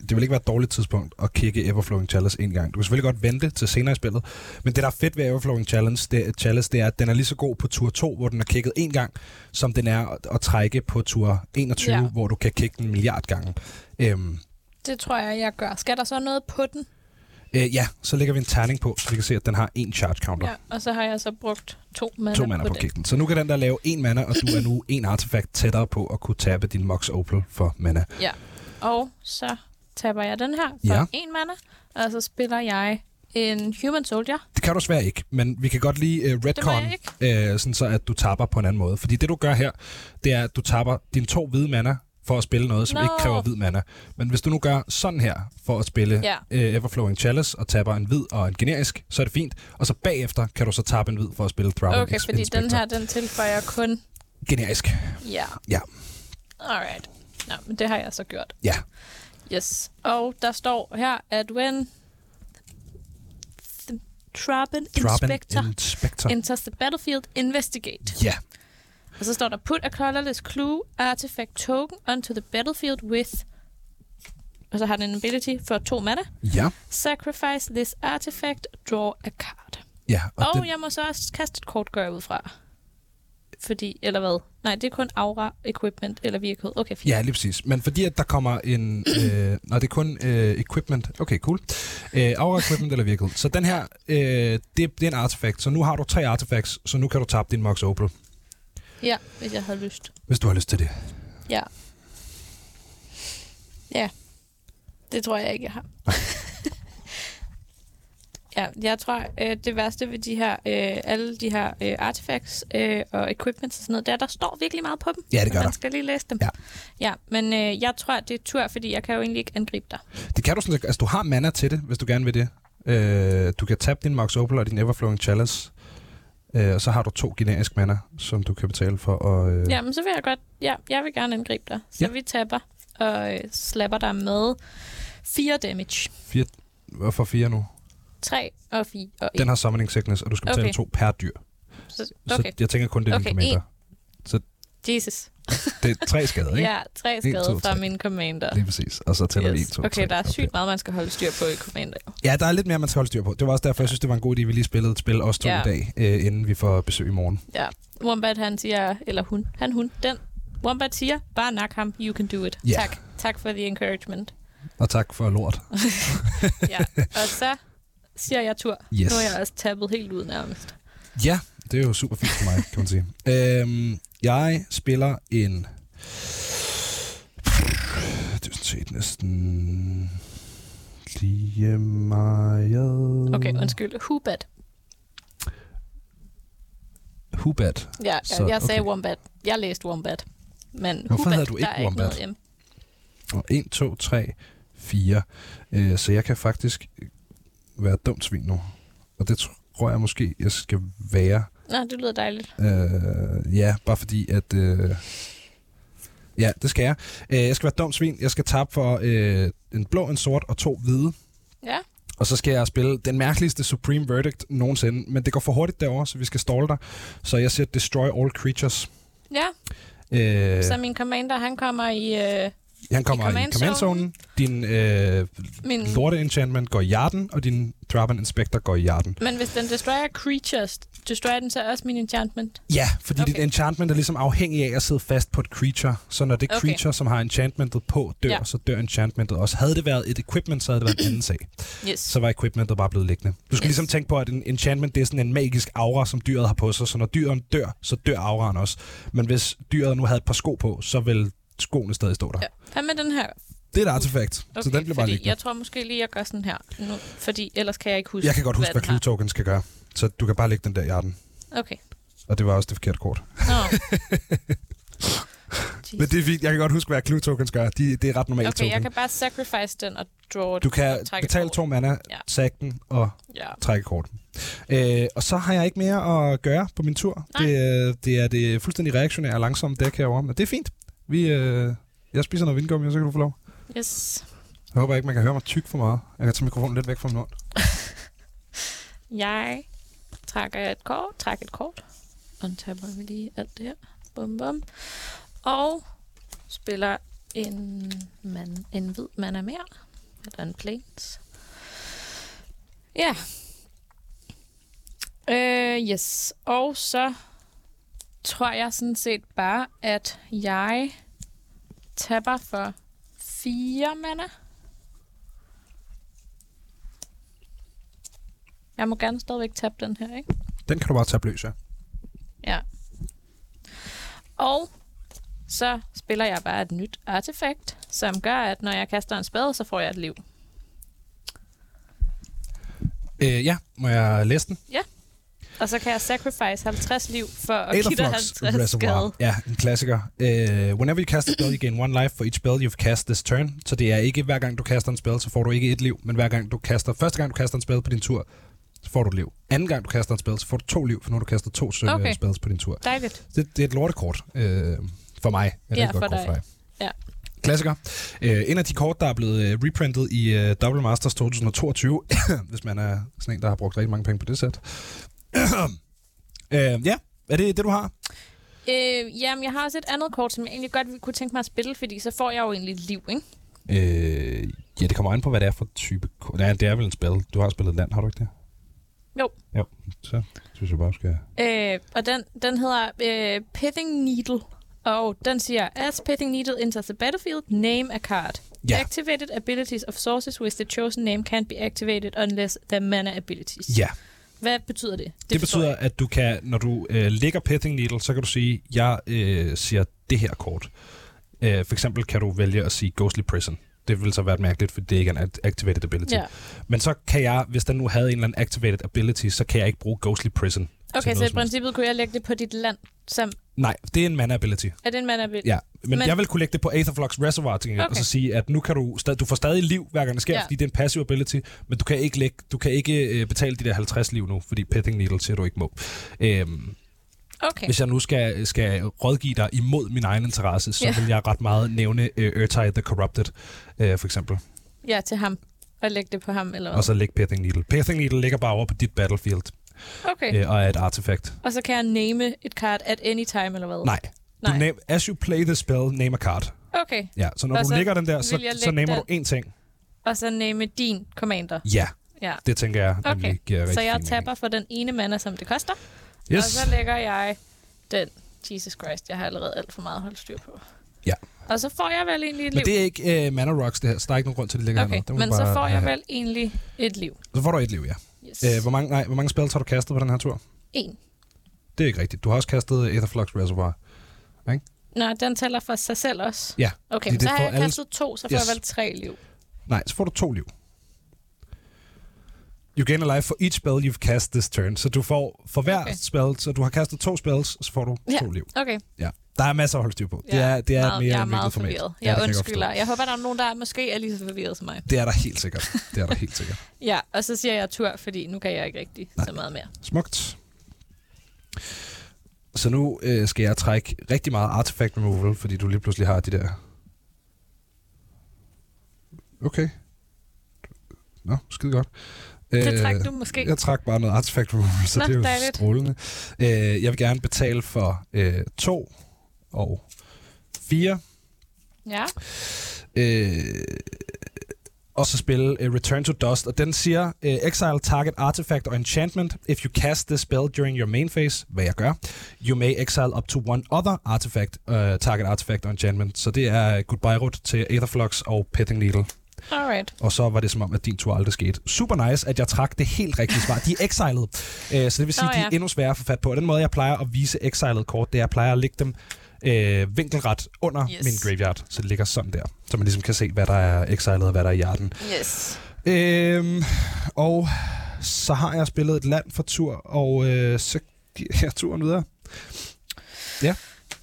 [SPEAKER 3] det vil ikke være et dårligt tidspunkt at kigge Everflowing Chalice en gang. Du kan selvfølgelig godt vente til senere i spillet, men det, der er fedt ved Everflowing Challenge, det, Chalice, det er, at den er lige så god på tur 2, hvor den er kigget en gang, som den er at, at trække på tur 21,
[SPEAKER 2] Ja.
[SPEAKER 3] ja. hvor du kan kigge den en milliard gange. Øhm,
[SPEAKER 2] Det tror jeg, jeg gør. Skal der så noget på den?
[SPEAKER 3] Øh, ja, så lægger vi en terning på, så vi kan se, at den har en charge counter.
[SPEAKER 2] Ja,
[SPEAKER 3] Ja,
[SPEAKER 2] og så har jeg så brugt to mana,
[SPEAKER 3] to mana
[SPEAKER 2] på
[SPEAKER 3] på, på
[SPEAKER 2] den.
[SPEAKER 3] kigten. Så nu kan den der lave en mana, og du er nu en artefakt tættere på at kunne tabe din Mox Opal for mana.
[SPEAKER 2] Ja, og så taber jeg den her for
[SPEAKER 3] Ja.
[SPEAKER 2] en mana, og så spiller jeg en Human Soldier.
[SPEAKER 3] Det kan du desværre ikke, men vi kan godt lige uh, redcon,
[SPEAKER 2] jeg
[SPEAKER 3] uh, sådan så at du taber på en anden måde. Fordi det du gør her, det er, at du taber dine to hvide mana for at spille noget, som
[SPEAKER 2] Nå.
[SPEAKER 3] no. ikke kræver hvid mana. Men hvis du nu gør sådan her for at spille
[SPEAKER 2] Ja.
[SPEAKER 3] ja. uh, Everflowing Chalice og taber en hvid og en generisk, så er det fint. Og så bagefter kan du så tabe en hvid for at spille Throbbing
[SPEAKER 2] Okay,
[SPEAKER 3] Ex-
[SPEAKER 2] fordi
[SPEAKER 3] Inspector.
[SPEAKER 2] den her, den tilføjer kun...
[SPEAKER 3] Generisk,
[SPEAKER 2] Ja,
[SPEAKER 3] ja.
[SPEAKER 2] alright. Nå, men det har jeg så gjort.
[SPEAKER 3] Ja,
[SPEAKER 2] Yes. Og der står her, at when... The Traben
[SPEAKER 3] Throbbing
[SPEAKER 2] Inspector
[SPEAKER 3] Inspector.
[SPEAKER 2] enters the battlefield, investigate.
[SPEAKER 3] Ja,
[SPEAKER 2] Og så står der, put a colorless clue artifact token onto the battlefield with... Og så har den en ability for to mana.
[SPEAKER 3] ja,
[SPEAKER 2] Sacrifice this artifact, draw a card.
[SPEAKER 3] ja.
[SPEAKER 2] Og, og
[SPEAKER 3] den,
[SPEAKER 2] jeg må så også kaste et kort, gør jeg ud fra. Fordi, eller hvad? Nej, det er kun aura, equipment eller virkelighed. Okay, fint.
[SPEAKER 3] ja, lige præcis. Men fordi at der kommer en... Øh, nej, det er kun øh, equipment. Okay, cool. Øh, aura equipment eller virkelighed. Så den her, øh, det, det er en artefakt. Så nu har du tre artefacts, så nu kan du tabe din Mox Opal,
[SPEAKER 2] ja hvis jeg havde lyst.
[SPEAKER 3] hvis du har lyst til det.
[SPEAKER 2] Ja. Ja. Det tror jeg ikke, jeg har. ja, jeg tror, øh, det værste ved de her, øh, alle de her øh, artifacts øh, og equipments og sådan noget, det er, der står virkelig meget på dem.
[SPEAKER 3] Ja, det gør
[SPEAKER 2] og man
[SPEAKER 3] der.
[SPEAKER 2] skal lige læse dem.
[SPEAKER 3] Ja.
[SPEAKER 2] ja men øh, jeg tror, det er tur, fordi jeg kan jo egentlig ikke angribe dig.
[SPEAKER 3] Det kan du sådan set... Altså, du har mana til det, hvis du gerne vil det. Øh, du kan tabe din Mox Opal og din Everflowing Chalice. Øh, og så har du to generisk mana, som du kan betale for. Og, øh,
[SPEAKER 2] Ja, men så vil jeg godt... Ja, jeg vil gerne angribe dig. Så ja.
[SPEAKER 3] Ja.
[SPEAKER 2] vi tapper og øh, slapper dig med 4 damage.
[SPEAKER 3] fire, hvorfor fire nu?
[SPEAKER 2] 3 og 4 og 1.
[SPEAKER 3] Den har Summoning Sickness, og du skal betale
[SPEAKER 2] Okay.
[SPEAKER 3] okay. to per dyr.
[SPEAKER 2] Så,
[SPEAKER 3] Okay.
[SPEAKER 2] okay,
[SPEAKER 3] Så jeg tænker kun, det er okay.
[SPEAKER 2] Okay,
[SPEAKER 3] din commander.
[SPEAKER 2] Jesus.
[SPEAKER 3] Det er tre skader, ikke?
[SPEAKER 2] Ja, 3
[SPEAKER 3] to,
[SPEAKER 2] skade fra
[SPEAKER 3] tre.
[SPEAKER 2] min commander.
[SPEAKER 3] Lige præcis. Og så tæller vi 1, 2,
[SPEAKER 2] okay, der er sygt meget, man skal holde styr på i commander.
[SPEAKER 3] Ja, der er lidt mere, man skal holde styr på. Det var også derfor, jeg synes, det var en god idé, vi lige spillede et spil også to
[SPEAKER 2] Ja.
[SPEAKER 3] ja. i dag, øh, inden vi får besøg i morgen.
[SPEAKER 2] Ja. Wombat, han siger... Eller hun. Han, hun. Den. Wombat siger, bare nak ham. You can do it.
[SPEAKER 3] Ja.
[SPEAKER 2] Tak. Tak for the encouragement.
[SPEAKER 3] Og tak for lort.
[SPEAKER 2] Ja. og så siger jeg tur.
[SPEAKER 3] Yes.
[SPEAKER 2] Nu er jeg også tappet helt ud nærmest.
[SPEAKER 3] Ja, Det er jo super fint for mig, kan man sige. Øhm, jeg spiller en... Det er sådan set næsten... Lige meget...
[SPEAKER 2] Okay, undskyld. Hubat.
[SPEAKER 3] Hubat.
[SPEAKER 2] Ja, jeg,
[SPEAKER 3] Så,
[SPEAKER 2] jeg sagde
[SPEAKER 3] okay.
[SPEAKER 2] wombat. Jeg læste wombat. Men
[SPEAKER 3] Hvorfor
[SPEAKER 2] hubat,
[SPEAKER 3] hedder du ikke
[SPEAKER 2] der er
[SPEAKER 3] wombat?
[SPEAKER 2] Ikke noget M.
[SPEAKER 3] Og 1, 2, 3, 4. Øh, så jeg kan faktisk øh, være et dumt svin nu. Og det tror jeg måske, jeg skal være.
[SPEAKER 2] Nå, det lyder dejligt.
[SPEAKER 3] Øh, ja, bare fordi at... Øh, ja, det skal jeg. Øh, jeg skal være et dumt svin. Jeg skal tabe for øh, en blå, en sort og to hvide.
[SPEAKER 2] Ja.
[SPEAKER 3] Og så skal jeg spille den mærkeligste Supreme Verdict nogensinde. Men det går for hurtigt derovre, så vi skal ståle dig. Så jeg siger Destroy All Creatures.
[SPEAKER 2] Ja,
[SPEAKER 3] Øh,
[SPEAKER 2] så min commander, han kommer i... Øh,
[SPEAKER 3] han kommer
[SPEAKER 2] i
[SPEAKER 3] i
[SPEAKER 2] command
[SPEAKER 3] command-zonen. Din øh,
[SPEAKER 2] min...
[SPEAKER 3] lorte enchantment går i hjerten, og din Draven Inspector går i hjerten.
[SPEAKER 2] Men hvis den destroyer creatures, destroyer den så også min enchantment?
[SPEAKER 3] Ja, fordi okay.
[SPEAKER 2] Okay.
[SPEAKER 3] dit enchantment er ligesom afhængig af at sidde fast på et creature. Så når det
[SPEAKER 2] Okay.
[SPEAKER 3] creature, som har enchantmentet på, dør, ja.
[SPEAKER 2] Ja.
[SPEAKER 3] så dør enchantmentet også. Havde det været et equipment, så havde det været en anden sag.
[SPEAKER 2] Yes.
[SPEAKER 3] Så var equipmentet bare blevet liggende. Du skal yes.
[SPEAKER 2] Yes.
[SPEAKER 3] ligesom tænke på, at en enchantment det er sådan en magisk aura, som dyret har på sig. Så når dyret dør, så dør auraen også. Men hvis dyret nu havde et par sko på, så ville skoene stadig stå der. Ja.
[SPEAKER 2] Ja. Hvad med den her?
[SPEAKER 3] Det er et artefakt, okay, så den bliver bare
[SPEAKER 2] fordi
[SPEAKER 3] liggende.
[SPEAKER 2] Jeg tror måske lige, jeg gør sådan her. Nu, fordi ellers kan jeg ikke huske,
[SPEAKER 3] Jeg kan godt huske, hvad
[SPEAKER 2] den
[SPEAKER 3] clue tokens skal gøre. Så du kan bare lægge den der i arten.
[SPEAKER 2] har. Okay.
[SPEAKER 3] Og det var også det forkerte kort.
[SPEAKER 2] Nå.
[SPEAKER 3] Men det er fint. Jeg kan godt huske, hvad clue tokens gør. De, det er ret normalt
[SPEAKER 2] okay,
[SPEAKER 3] token.
[SPEAKER 2] jeg kan bare sacrifice den og draw et-
[SPEAKER 3] Du kan
[SPEAKER 2] trække et
[SPEAKER 3] betale
[SPEAKER 2] kort.
[SPEAKER 3] to mana, ja.
[SPEAKER 2] Ja.
[SPEAKER 3] den og
[SPEAKER 2] Ja.
[SPEAKER 3] trække kort. Øh, og så har jeg ikke mere at gøre på min tur.
[SPEAKER 2] Nej.
[SPEAKER 3] Det, øh, det er det fuldstændig reaktionære og langsomme dæk herovre, men det er fint. Vi, øh, jeg spiser noget vindgummi, og så kan du få lov.
[SPEAKER 2] Yes.
[SPEAKER 3] Jeg håber ikke, man kan høre mig tyk for meget. Jeg kan tage mikrofonen lidt væk fra min mund.
[SPEAKER 2] Jeg trækker et kort, trækker et kort. Untapper vi lige alt det her. Bum, bum. Og spiller en, man, en hvid man er mere. Eller en planes. Ja. Øh, yes. Og så tror jeg sådan set bare, at jeg tapper for fire mana. Jeg må gerne stadigvæk tabe den her, ikke?
[SPEAKER 3] Den kan du bare tage løs af.
[SPEAKER 2] Ja. Og så spiller jeg bare et nyt artefakt, som gør, at når jeg kaster en spade, så får jeg et liv.
[SPEAKER 3] Øh, ja, må jeg læse den?
[SPEAKER 2] Og så kan jeg sacrifice 50 liv for at give dig
[SPEAKER 3] Aetherflux
[SPEAKER 2] 50 skade.
[SPEAKER 3] Ja, en klassiker. Uh, whenever you cast a spell, you gain one life for each spell you've cast this turn. Så det er ikke hver gang, du kaster en spell, så får du ikke et liv, men hver gang du kaster, første gang du kaster en spell på din tur, så får du et liv. Anden gang du kaster en spell, så får du to liv, for når du kaster to stykker okay.
[SPEAKER 2] Okay.
[SPEAKER 3] spells på din tur.
[SPEAKER 2] Dejligt.
[SPEAKER 3] Det, det er et lortekort uh, for mig. Er det
[SPEAKER 2] Ja,
[SPEAKER 3] et godt
[SPEAKER 2] for
[SPEAKER 3] kort
[SPEAKER 2] dig. Ja.
[SPEAKER 3] Klassiker. Øh, en af de kort, der er blevet øh, reprintet i øh, Double Masters 2022, hvis man er sådan en, der har brugt rigtig mange penge på det sæt. øh, ja, er det det, du har?
[SPEAKER 2] Øh, jamen, jeg har også et andet kort, som jeg egentlig godt ville kunne tænke mig at spille, fordi så får jeg jo egentlig et liv, ikke?
[SPEAKER 3] Øh, ja, det kommer an på, hvad det er for type... ko- Nej, det er vel en spil. Du har spillet land, har du ikke det?
[SPEAKER 2] Jo.
[SPEAKER 3] Jo, så synes jeg bare, du skal...
[SPEAKER 2] Øh, og den, den hedder øh, Pithing Needle. Og den siger, as Pithing Needle enters the battlefield, name a card.
[SPEAKER 3] Ja.
[SPEAKER 2] Activated abilities of sources with the chosen name can't be activated unless they're mana abilities.
[SPEAKER 3] Ja,
[SPEAKER 2] Hvad betyder det?
[SPEAKER 3] det, det betyder, at du kan, når du øh, ligger Pithing Needle, så kan du sige, jeg øh, siger det her kort. Øh, for eksempel kan du vælge at sige Ghostly Prison. Det vil så være mærkeligt, for det ikke er en act- activated ability.
[SPEAKER 2] Ja.
[SPEAKER 3] Men så kan jeg, hvis den nu havde en eller anden activated ability, så kan jeg ikke bruge Ghostly Prison.
[SPEAKER 2] Okay,
[SPEAKER 3] noget
[SPEAKER 2] så i
[SPEAKER 3] som helst.
[SPEAKER 2] princippet kunne jeg lægge det på dit land, som
[SPEAKER 3] Nej, det er en mana ability.
[SPEAKER 2] er det en mana ability?
[SPEAKER 3] Ja, men, men
[SPEAKER 2] Men-
[SPEAKER 3] jeg vil kunne lægge det på Aetherflux Reservoir, tænker okay. og
[SPEAKER 2] Okay.
[SPEAKER 3] så sige, at nu kan du, stad, du får stadig liv, hver gang det sker, ja.
[SPEAKER 2] Ja.
[SPEAKER 3] fordi det er en passive ability, men du kan ikke, lægge, du kan ikke øh, betale de der 50 liv nu, fordi Petting Needle siger, du ikke må. Øhm,
[SPEAKER 2] Okay.
[SPEAKER 3] Hvis jeg nu skal, skal rådgive dig imod min egen interesse, så
[SPEAKER 2] Ja.
[SPEAKER 3] vil jeg ret meget nævne øh, Urtai the Corrupted, øh, for eksempel,
[SPEAKER 2] Ja, til ham. Og lægge det på ham, eller hvad?
[SPEAKER 3] og så lægge Petting Needle. Petting Needle ligger bare over på dit battlefield,
[SPEAKER 2] Okay.
[SPEAKER 3] øh, og er et artefakt.
[SPEAKER 2] Og så kan jeg name et card at any time, eller hvad?
[SPEAKER 3] Nej. Du
[SPEAKER 2] Nej.
[SPEAKER 3] name, as you play the spell, name a card.
[SPEAKER 2] Okay.
[SPEAKER 3] Ja, så når
[SPEAKER 2] Og
[SPEAKER 3] du
[SPEAKER 2] så
[SPEAKER 3] ligger den der,
[SPEAKER 2] vil
[SPEAKER 3] så,
[SPEAKER 2] jeg
[SPEAKER 3] så
[SPEAKER 2] lægge
[SPEAKER 3] namer du
[SPEAKER 2] den-
[SPEAKER 3] én ting.
[SPEAKER 2] Og så name din commander.
[SPEAKER 3] Ja,
[SPEAKER 2] Ja.
[SPEAKER 3] det tænker jeg nemlig
[SPEAKER 2] Okay,
[SPEAKER 3] giver rigtig
[SPEAKER 2] så jeg
[SPEAKER 3] fin mening.
[SPEAKER 2] tapper for den ene mana, som det koster.
[SPEAKER 3] Yes.
[SPEAKER 2] Og så lægger jeg den. Jesus Christ, jeg har allerede alt for meget holdt styr på.
[SPEAKER 3] Ja.
[SPEAKER 2] Og så får jeg vel egentlig et
[SPEAKER 3] Men
[SPEAKER 2] liv.
[SPEAKER 3] det er ikke øh, Mana Rocks, det her, så der er ikke nogen grund til, at det ligger
[SPEAKER 2] okay,
[SPEAKER 3] hernede. Det må
[SPEAKER 2] men
[SPEAKER 3] du
[SPEAKER 2] så
[SPEAKER 3] bare
[SPEAKER 2] får jeg
[SPEAKER 3] have. Øh,
[SPEAKER 2] vel egentlig et liv.
[SPEAKER 3] Så får du et liv, ja.
[SPEAKER 2] Yes.
[SPEAKER 3] Øh, hvor, mange, nej, hvor mange spil har du kastet på den her tur?
[SPEAKER 2] En.
[SPEAKER 3] Det er ikke rigtigt. Du har også kastet Etherflux Reservoir.
[SPEAKER 2] Nå, den tæller for sig selv også.
[SPEAKER 3] Ja.
[SPEAKER 2] Okay,
[SPEAKER 3] fordi
[SPEAKER 2] men så
[SPEAKER 3] det
[SPEAKER 2] har
[SPEAKER 3] får
[SPEAKER 2] jeg
[SPEAKER 3] alle-
[SPEAKER 2] kastet to, så får
[SPEAKER 3] Yes.
[SPEAKER 2] jeg vel tre liv.
[SPEAKER 3] Nej, så får du to liv. You gain a life for each spell you've cast this turn. Så du får for hver okay.
[SPEAKER 2] Okay.
[SPEAKER 3] spell, så du har kastet to spells, så får du
[SPEAKER 2] Ja.
[SPEAKER 3] to liv.
[SPEAKER 2] Okay,
[SPEAKER 3] Ja. Der er masser at holde styr på. Ja. Det
[SPEAKER 2] Ja,
[SPEAKER 3] er, det er et
[SPEAKER 2] meget,
[SPEAKER 3] mere
[SPEAKER 2] jeg er
[SPEAKER 3] indviklet
[SPEAKER 2] meget
[SPEAKER 3] format.
[SPEAKER 2] forvirret.
[SPEAKER 3] Ja,
[SPEAKER 2] Jeg
[SPEAKER 3] det kan godt
[SPEAKER 2] undskylder.
[SPEAKER 3] forstå.
[SPEAKER 2] Jeg, håber, der er nogen, der måske er lige så forvirret som mig.
[SPEAKER 3] Det er der helt sikkert. Det er der helt sikkert.
[SPEAKER 2] Ja, og så siger jeg tur, fordi nu kan jeg ikke rigtig
[SPEAKER 3] Nej.
[SPEAKER 2] så meget mere.
[SPEAKER 3] Smukt. Så nu øh, skal jeg trække rigtig meget artifact removal, fordi du lige pludselig har de der... Okay. Nå, skide godt.
[SPEAKER 2] Det
[SPEAKER 3] Øh,
[SPEAKER 2] træk du måske.
[SPEAKER 3] Jeg trak bare noget Artifact Removal, så
[SPEAKER 2] Nå,
[SPEAKER 3] det er jo
[SPEAKER 2] dejligt.
[SPEAKER 3] strålende. Øh, jeg vil gerne betale for øh, to og fire.
[SPEAKER 2] Ja,
[SPEAKER 3] Øh, og så spille øh, Return to Dust, og den siger, øh, exile target artifact or enchantment. If you cast this spell during your main phase, hvad jeg gør, you may exile up to one other artifact, øh, target artifact or enchantment. Så det er øh, Goodbye Root til Aetherflux og Petting Needle.
[SPEAKER 2] alright.
[SPEAKER 3] Og så var det som om, at din tur aldrig skete. Super nice, at jeg trak det helt rigtige svar. De er exiled, øh, så det vil sige,
[SPEAKER 2] Nå
[SPEAKER 3] at de er
[SPEAKER 2] ja.
[SPEAKER 3] endnu sværere at få fat på. Og den måde, jeg plejer at vise exiled kort, det er, at jeg plejer at lægge dem øh, vinkelret under yes.
[SPEAKER 2] Yes.
[SPEAKER 3] min graveyard. Så det ligger sådan der, så man ligesom kan se, hvad der er exiled og hvad der er i hjerten.
[SPEAKER 2] Yes.
[SPEAKER 3] Øhm, og så har jeg spillet et land for tur, og øh, så giver jeg turen videre.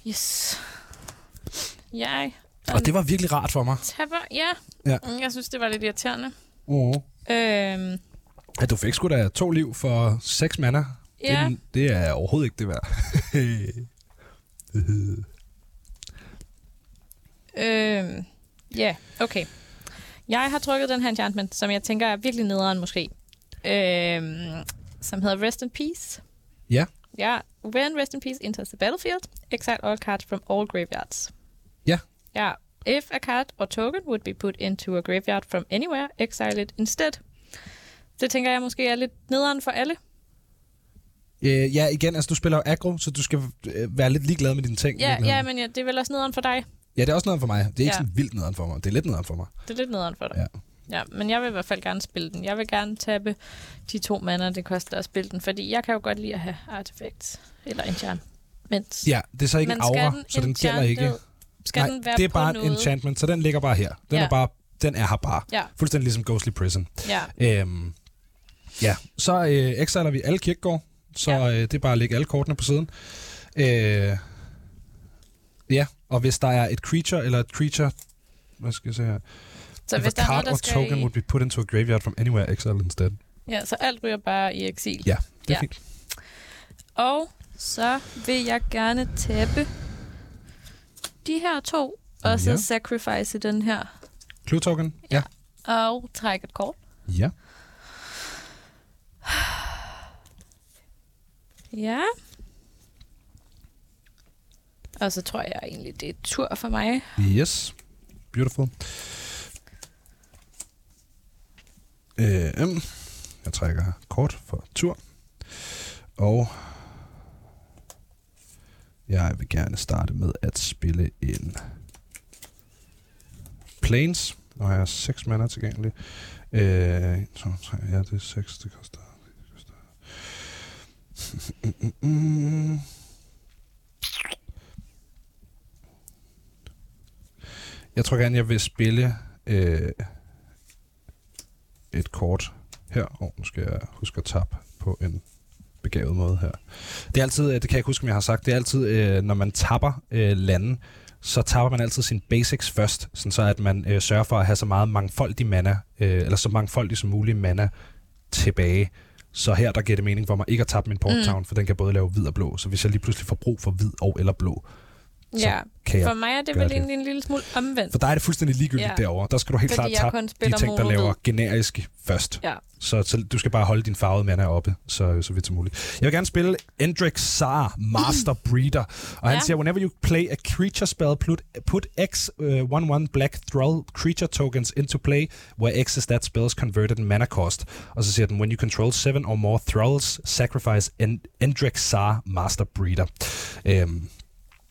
[SPEAKER 2] Yes. Jeg
[SPEAKER 3] Og det var virkelig rart for mig,
[SPEAKER 2] tapper, ja.
[SPEAKER 3] Ja.
[SPEAKER 2] Mm, Jeg synes, det var lidt irriterende.
[SPEAKER 3] uh-huh.
[SPEAKER 2] Øhm,
[SPEAKER 3] at du fik sgu da to liv for seks mander.
[SPEAKER 2] ja,
[SPEAKER 3] Det, det er overhovedet ikke det værd.
[SPEAKER 2] øhm, ja, okay. Jeg har trykket den her enchantment, som jeg tænker er virkelig nederen måske. Øhm, som hedder Rest in Peace.
[SPEAKER 3] Ja.
[SPEAKER 2] Ja, when Rest in Peace enters the battlefield, exile all cards from all graveyards.
[SPEAKER 3] Ja.
[SPEAKER 2] Ja. If a card or token would be put into a graveyard from anywhere, exile it instead. Det tænker jeg måske er lidt nederen for alle.
[SPEAKER 3] Øh, ja, igen, altså du spiller jo aggro, så du skal øh, være lidt ligeglad med dine ting. i
[SPEAKER 2] Ja,
[SPEAKER 3] virkeligheden.
[SPEAKER 2] ja men ja, det er vel også nederen for dig.
[SPEAKER 3] ja, det er også noget for mig. Det er ikke
[SPEAKER 2] Ja.
[SPEAKER 3] sådan vildt nederen for mig. Det er lidt nederen for mig.
[SPEAKER 2] Det er lidt nederen for dig.
[SPEAKER 3] Ja.
[SPEAKER 2] ja. men jeg vil i hvert fald gerne spille den. Jeg vil gerne tabe de to mander, det koster at spille den, fordi jeg kan jo godt lide at have artefakt eller enchant. Men
[SPEAKER 3] Ja, det er så ikke en
[SPEAKER 2] Men skal
[SPEAKER 3] aura,
[SPEAKER 2] den
[SPEAKER 3] så den gælder ikke.
[SPEAKER 2] enchanted? skal
[SPEAKER 3] Nej,
[SPEAKER 2] den være
[SPEAKER 3] det er
[SPEAKER 2] på
[SPEAKER 3] bare
[SPEAKER 2] noget?
[SPEAKER 3] en enchantment, så den ligger bare her. Den,
[SPEAKER 2] Ja.
[SPEAKER 3] er, bare, den er her bare.
[SPEAKER 2] Ja,
[SPEAKER 3] Fuldstændig ligesom Ghostly Prison.
[SPEAKER 2] ja.
[SPEAKER 3] Øhm, ja, så øh, exiler vi alle kirkegård, så
[SPEAKER 2] Ja.
[SPEAKER 3] øh, det er bare at lægge alle kortene på siden. Øh, ja, og hvis der er et creature, eller et creature... Hvad skal jeg se her?
[SPEAKER 2] Så
[SPEAKER 3] If
[SPEAKER 2] hvis
[SPEAKER 3] a
[SPEAKER 2] der er noget,
[SPEAKER 3] card
[SPEAKER 2] der
[SPEAKER 3] or token
[SPEAKER 2] skal i,
[SPEAKER 3] would be put into a graveyard from anywhere, exile instead.
[SPEAKER 2] Ja, så alt ryger bare i eksil.
[SPEAKER 3] Ja, det er
[SPEAKER 2] Ja.
[SPEAKER 3] fint.
[SPEAKER 2] Og så vil jeg gerne tabe de her to, og så
[SPEAKER 3] Ja.
[SPEAKER 2] ja. sacrifice den her,
[SPEAKER 3] Clue token? Ja.
[SPEAKER 2] og trække et kort.
[SPEAKER 3] Ja.
[SPEAKER 2] Ja. Og så tror jeg egentlig, det er tur for mig.
[SPEAKER 3] Yes. Beautiful. Øhm, jeg trækker kort for tur. Og jeg vil gerne starte med at spille en Planes. Nu har jeg 6 mana tilgængelige. Øh, så, så, ja, det er 6, det koster. Det koster. Mm, mm, mm. Jeg tror gerne, jeg vil spille øh, et kort her. Og nu skal jeg huske at tappe på en begavet måde her. Det er altid, øh, det kan jeg ikke huske, om jeg har sagt, det er altid, øh, når man tapper øh, landen, så tapper man altid sine basics først, sådan så at man øh, sørger for at have så meget mangfoldig mana, øh, eller så mangfoldig som muligt mana tilbage. Så her, der giver det mening for mig ikke at tappe min port town, mm. for den kan både lave hvid og blå. Så hvis jeg lige pludselig får brug for hvid og eller blå, Så
[SPEAKER 2] Ja,
[SPEAKER 3] kan jeg
[SPEAKER 2] for mig er det
[SPEAKER 3] gør
[SPEAKER 2] vel
[SPEAKER 3] det.
[SPEAKER 2] egentlig en lille smule omvendt.
[SPEAKER 3] for dig er det fuldstændig ligegyldigt ja.
[SPEAKER 2] Ja.
[SPEAKER 3] derovre. Der skal du helt
[SPEAKER 2] Fordi
[SPEAKER 3] klart
[SPEAKER 2] jeg
[SPEAKER 3] tappe
[SPEAKER 2] kun
[SPEAKER 3] de
[SPEAKER 2] spiller
[SPEAKER 3] ting, der
[SPEAKER 2] mono-hvid.
[SPEAKER 3] laver generisk først.
[SPEAKER 2] Ja.
[SPEAKER 3] Så, så du skal bare holde din farvede mana oppe, så, så vidt som muligt. Jeg vil gerne spille Endrick Saar, Master Breeder. Og han
[SPEAKER 2] Ja.
[SPEAKER 3] siger, whenever you play a creature spell, put, put X11 uh, black thrall creature tokens into play, where X is that spell's converted mana cost. Og så siger den, when you control seven or more thralls, sacrifice End- Endrick Saar, Master Breeder. Øhm,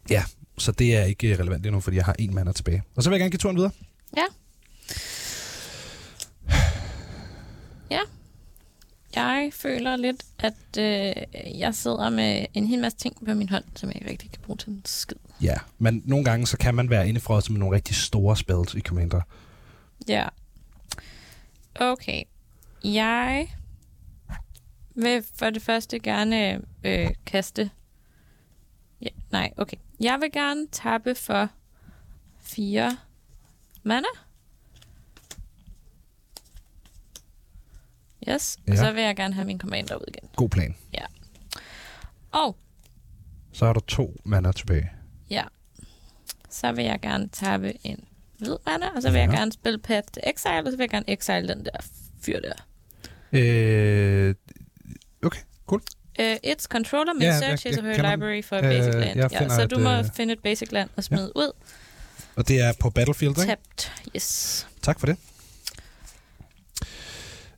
[SPEAKER 3] ja, så det er ikke øh, relevant endnu, fordi jeg har en mana tilbage. Og så vil jeg gerne give turen videre.
[SPEAKER 2] Ja. Ja. jeg føler lidt, at øh, jeg sidder med en hel masse ting på min hånd, som jeg ikke rigtig kan bruge til en skid.
[SPEAKER 3] Ja, men nogle gange, så kan man være indefrosset med nogle rigtig store spells i Commander.
[SPEAKER 2] Ja. Okay. Jeg vil for det første gerne øh, kaste... Ja, nej, okay. Jeg vil gerne tappe for fire mana. Yes, ja. og
[SPEAKER 3] Ja.
[SPEAKER 2] så vil jeg gerne have min commander ud igen.
[SPEAKER 3] God plan.
[SPEAKER 2] Og
[SPEAKER 3] Så har du to mander tilbage.
[SPEAKER 2] så vil jeg gerne tappe en hvid mana, og så vil ja. jeg
[SPEAKER 3] Ja.
[SPEAKER 2] gerne spille Path to Exile, og så vil jeg gerne exile den der fyr der.
[SPEAKER 3] Øh,
[SPEAKER 2] Uh, its controller may
[SPEAKER 3] Ja,
[SPEAKER 2] yeah,
[SPEAKER 3] jeg-
[SPEAKER 2] search his
[SPEAKER 3] jeg
[SPEAKER 2] or her
[SPEAKER 3] kender den.
[SPEAKER 2] library for a
[SPEAKER 3] Øh,
[SPEAKER 2] basic land.
[SPEAKER 3] jeg
[SPEAKER 2] Ja,
[SPEAKER 3] finder
[SPEAKER 2] så
[SPEAKER 3] et,
[SPEAKER 2] du må
[SPEAKER 3] øh,
[SPEAKER 2] finde et basic land og smide ud.
[SPEAKER 3] og det er på Battlefield, ikke?
[SPEAKER 2] Tabt. Yes.
[SPEAKER 3] Tak for det.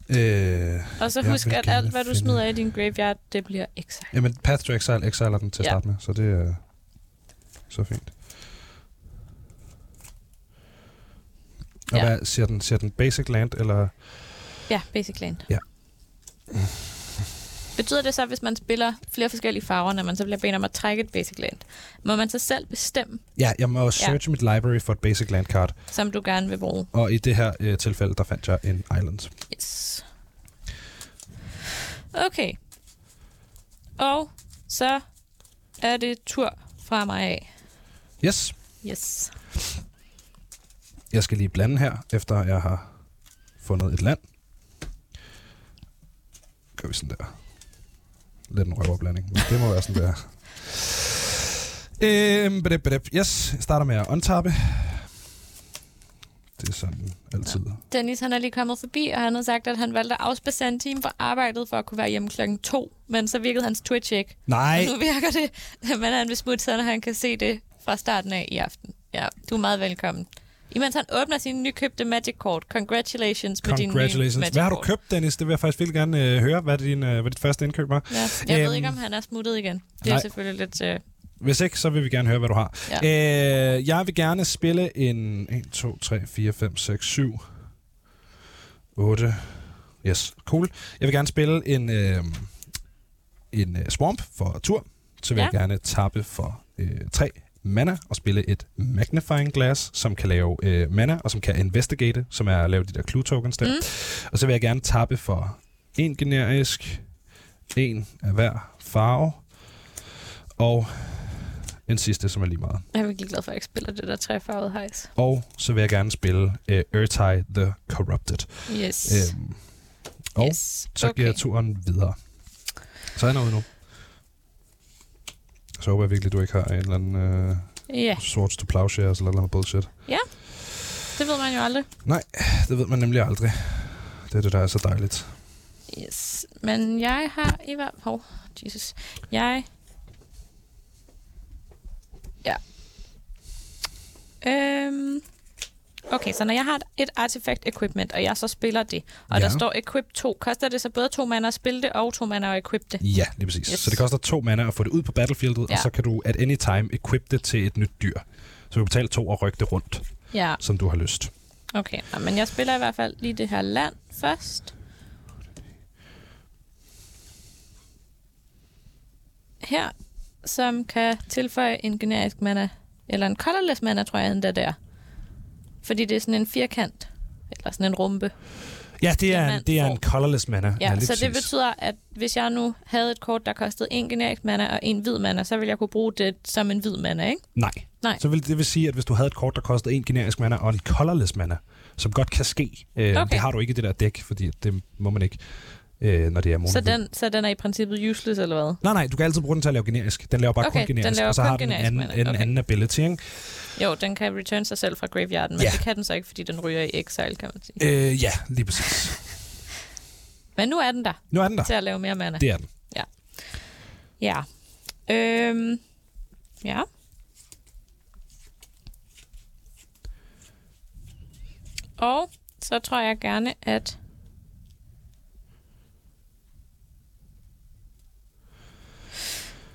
[SPEAKER 3] Øh,
[SPEAKER 2] Og så
[SPEAKER 3] Jeg
[SPEAKER 2] husk,
[SPEAKER 3] vil
[SPEAKER 2] at
[SPEAKER 3] gerne
[SPEAKER 2] alt, hvad du
[SPEAKER 3] finde-
[SPEAKER 2] smider i din graveyard, det bliver exile.
[SPEAKER 3] jamen, Path to Exile exiler den til at
[SPEAKER 2] Ja.
[SPEAKER 3] starte med, så det er så fint.
[SPEAKER 2] Ja.
[SPEAKER 3] Og ja. hvad siger den? Siger den Basic Land, eller...
[SPEAKER 2] Ja, basic land.
[SPEAKER 3] Ja.
[SPEAKER 2] Betyder det så, at hvis man spiller flere forskellige farver, når man så bliver bedt om at trække et basic land, må man så selv bestemme,
[SPEAKER 3] Ja, jeg må searche ja. mit library for et Basic Land card,
[SPEAKER 2] som du gerne vil bruge?
[SPEAKER 3] og i det her øh, tilfælde, der fandt jeg en Island.
[SPEAKER 2] Yes. Okay. Og så er det tur fra mig af.
[SPEAKER 3] Yes,
[SPEAKER 2] Yes.
[SPEAKER 3] jeg skal lige blande her, efter jeg har fundet et land. Gør vi sådan der. Lidt en røverblanding, men det må være sådan der. Øhm, bedep, bedep. Yes, jeg starter med at untappe. Det er sådan altid.
[SPEAKER 2] Dennis, han er lige kommet forbi, og han havde sagt, at han valgte at afspacere en time fra arbejdet for at kunne være hjemme klokken to. Men så virkede hans Twitch ikke. Og
[SPEAKER 3] Nej,
[SPEAKER 2] nu virker det, men han vil smutte, så han kan se det fra starten af i aften. Ja, du er meget velkommen. Imens han åbner sin nykøbte Magic-kort. Congratulations, med din øh, nye
[SPEAKER 3] congratulations. Hvad har du
[SPEAKER 2] Magic-kort.
[SPEAKER 3] købt, Dennis? Det vil jeg faktisk virkelig gerne øh, høre, hvad, din, øh, hvad dit første indkøb var.
[SPEAKER 2] Ja, jeg øhm, ved
[SPEAKER 3] Øhm,
[SPEAKER 2] ikke, om han er smuttet igen. Det er
[SPEAKER 3] nej.
[SPEAKER 2] selvfølgelig lidt... Øh,
[SPEAKER 3] Hvis ikke, så vil vi gerne høre, hvad du har. Ja. Øh, jeg vil gerne spille en 1, 2, 3, 4, 5, 6, 7, 8. Yes, cool. Jeg vil gerne spille en, øh, en øh, Swamp for tur. Så vil
[SPEAKER 2] Ja.
[SPEAKER 3] ja. jeg gerne tappe for øh, 3 mana og spille et magnifying glass, som kan lave øh, mana, og som kan investigate, som er at lave de der clue tokens der.
[SPEAKER 2] Mm.
[SPEAKER 3] Mm. Og så vil jeg gerne tappe for en generisk, en af hver farve, og en sidste, som er lige meget.
[SPEAKER 2] jeg er virkelig glad for, at jeg ikke spiller det der træfarvede hejs.
[SPEAKER 3] Og så vil jeg gerne spille øh, Urtai the Corrupted.
[SPEAKER 2] Yes.
[SPEAKER 3] Øhm, og
[SPEAKER 2] yes.
[SPEAKER 3] så giver jeg turen videre. Så er der noget nu. Så håber jeg virkelig, du ikke har en eller anden øh,
[SPEAKER 2] Ja,
[SPEAKER 3] swords to plowshares eller noget bullshit.
[SPEAKER 2] det ved man jo aldrig.
[SPEAKER 3] Det ved man nemlig aldrig. Det er det, der er så dejligt.
[SPEAKER 2] Yes, men jeg har i hvert fald... Oh, Jesus. Jeg... Ja. Øhm... Okay, så når jeg har et- et artefakt equipment, og jeg så spiller det, og ja.
[SPEAKER 3] Ja.
[SPEAKER 2] der står equip 2, koster det så både to mander at spille det, og to mander at equip det?
[SPEAKER 3] Ja, lige præcis.
[SPEAKER 2] Yes.
[SPEAKER 3] Yes. Så det koster to mana at få det ud på battlefieldet, ja.
[SPEAKER 2] Ja.
[SPEAKER 3] og så kan du at any time equip det til et nyt dyr. Så du kan betale to og rykke det rundt,
[SPEAKER 2] Ja,
[SPEAKER 3] som du har lyst.
[SPEAKER 2] okay. Nå, men jeg spiller i hvert fald lige det her land først. Her, som kan tilføje en generisk mana, eller en colorless mana, tror jeg endda der. Fordi det er sådan en firkant, eller sådan en rumpe.
[SPEAKER 3] Ja, det er, en,
[SPEAKER 2] Diamant
[SPEAKER 3] det er
[SPEAKER 2] får-
[SPEAKER 3] en colorless mana.
[SPEAKER 2] Ja,
[SPEAKER 3] lige
[SPEAKER 2] så det
[SPEAKER 3] præcis.
[SPEAKER 2] betyder, at hvis jeg nu havde et kort, der kostede en generisk mana og en hvid mana, så ville jeg kunne bruge det som en hvid mana, ikke?
[SPEAKER 3] Nej.
[SPEAKER 2] Nej.
[SPEAKER 3] Så vil det vil sige, at hvis du havde et kort, der kostede en generisk mana og en colorless mana, som godt kan ske, øh,
[SPEAKER 2] Okay.
[SPEAKER 3] okay. det har du ikke i det der dæk, fordi det må man ikke, øh, når det er mono.
[SPEAKER 2] Så den, så den er i princippet useless, eller hvad?
[SPEAKER 3] Nej, nej, du kan altid bruge den til at lave generisk. Den laver bare
[SPEAKER 2] Okay,
[SPEAKER 3] kun
[SPEAKER 2] den
[SPEAKER 3] generisk,
[SPEAKER 2] laver
[SPEAKER 3] og så
[SPEAKER 2] kun
[SPEAKER 3] har den en
[SPEAKER 2] generisk
[SPEAKER 3] anden,
[SPEAKER 2] mana.
[SPEAKER 3] en
[SPEAKER 2] Okay.
[SPEAKER 3] anden ability, ikke?
[SPEAKER 2] Jo, den kan return sig selv fra graveyarden, men
[SPEAKER 3] Ja.
[SPEAKER 2] det kan den så ikke, fordi den ryger i exile, kan man sige.
[SPEAKER 3] Øh, ja, lige præcis.
[SPEAKER 2] Men nu er den der
[SPEAKER 3] Nu er den der.
[SPEAKER 2] til at lave mere mana.
[SPEAKER 3] Det er den.
[SPEAKER 2] Ja. Øhm, ja. Og så tror jeg gerne, at...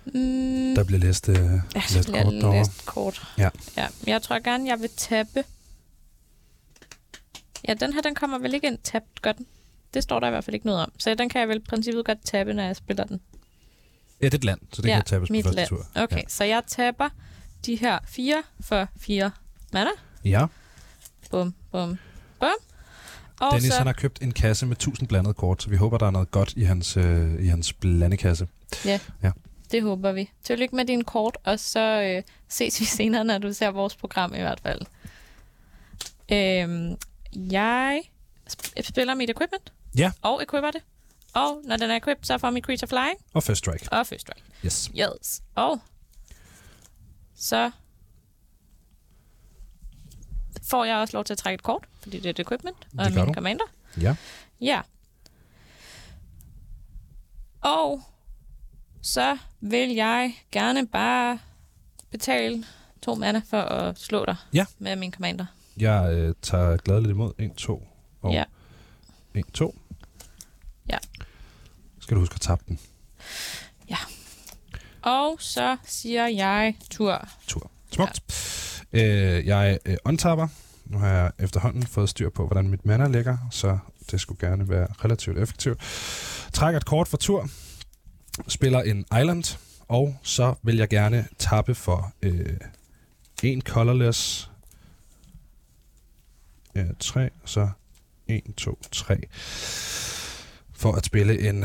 [SPEAKER 2] Mm,
[SPEAKER 3] Der bliver læst, øh,
[SPEAKER 2] ja, så
[SPEAKER 3] læst
[SPEAKER 2] bliver
[SPEAKER 3] kort
[SPEAKER 2] det
[SPEAKER 3] derovre.
[SPEAKER 2] læst kort.
[SPEAKER 3] Ja.
[SPEAKER 2] ja. Jeg tror gerne, jeg vil tappe. Ja, den her, den kommer vel ikke ind tabt, gør den? Det står der i hvert fald ikke noget om. Så den kan jeg vel i princippet godt tabe, når jeg spiller den.
[SPEAKER 3] Ja, det er et land, så det ja, kan tabes på
[SPEAKER 2] mit
[SPEAKER 3] første
[SPEAKER 2] land.
[SPEAKER 3] tur.
[SPEAKER 2] Okay, ja. så jeg taber de her fire for fire mander.
[SPEAKER 3] Ja.
[SPEAKER 2] Bum, bum, bum. Og
[SPEAKER 3] Dennis,
[SPEAKER 2] så,
[SPEAKER 3] han har købt en kasse med 1000 blandede kort, så vi håber, der er noget godt i hans, øh, i hans blandekasse.
[SPEAKER 2] det håber vi. Tillykke med dine kort, og så øh, ses vi senere, når du ser vores program i hvert fald. Øhm, jeg sp- spiller mit equipment.
[SPEAKER 3] Ja.
[SPEAKER 2] Og equipper det. Og når den er equipped, så får mit creature flying
[SPEAKER 3] Og first strike.
[SPEAKER 2] og first strike.
[SPEAKER 3] Yes.
[SPEAKER 2] Yes. Og så får jeg også lov til at trække et kort, fordi det er et equipment og
[SPEAKER 3] Det
[SPEAKER 2] det
[SPEAKER 3] gør du.
[SPEAKER 2] min commander.
[SPEAKER 3] Ja.
[SPEAKER 2] Ja. Og så vil jeg gerne bare betale to mana for at slå dig
[SPEAKER 3] Ja.
[SPEAKER 2] med min commander.
[SPEAKER 3] Jeg øh, tager gladeligt imod. 1, 2 og
[SPEAKER 2] Ja.
[SPEAKER 3] 1, 2.
[SPEAKER 2] Ja.
[SPEAKER 3] Skal du huske at tabe den
[SPEAKER 2] Og så siger jeg tur.
[SPEAKER 3] tur. Smukt. Ja. Øh, jeg øh, untapper. Nu har jeg efterhånden fået styr på, hvordan mit mana ligger, så det skulle gerne være relativt effektivt. Trækker et kort for tur. Spiller en island. Og så vil jeg gerne tappe for øh, en colorless. Øh, tre, så 1, 2, 3. For at spille en...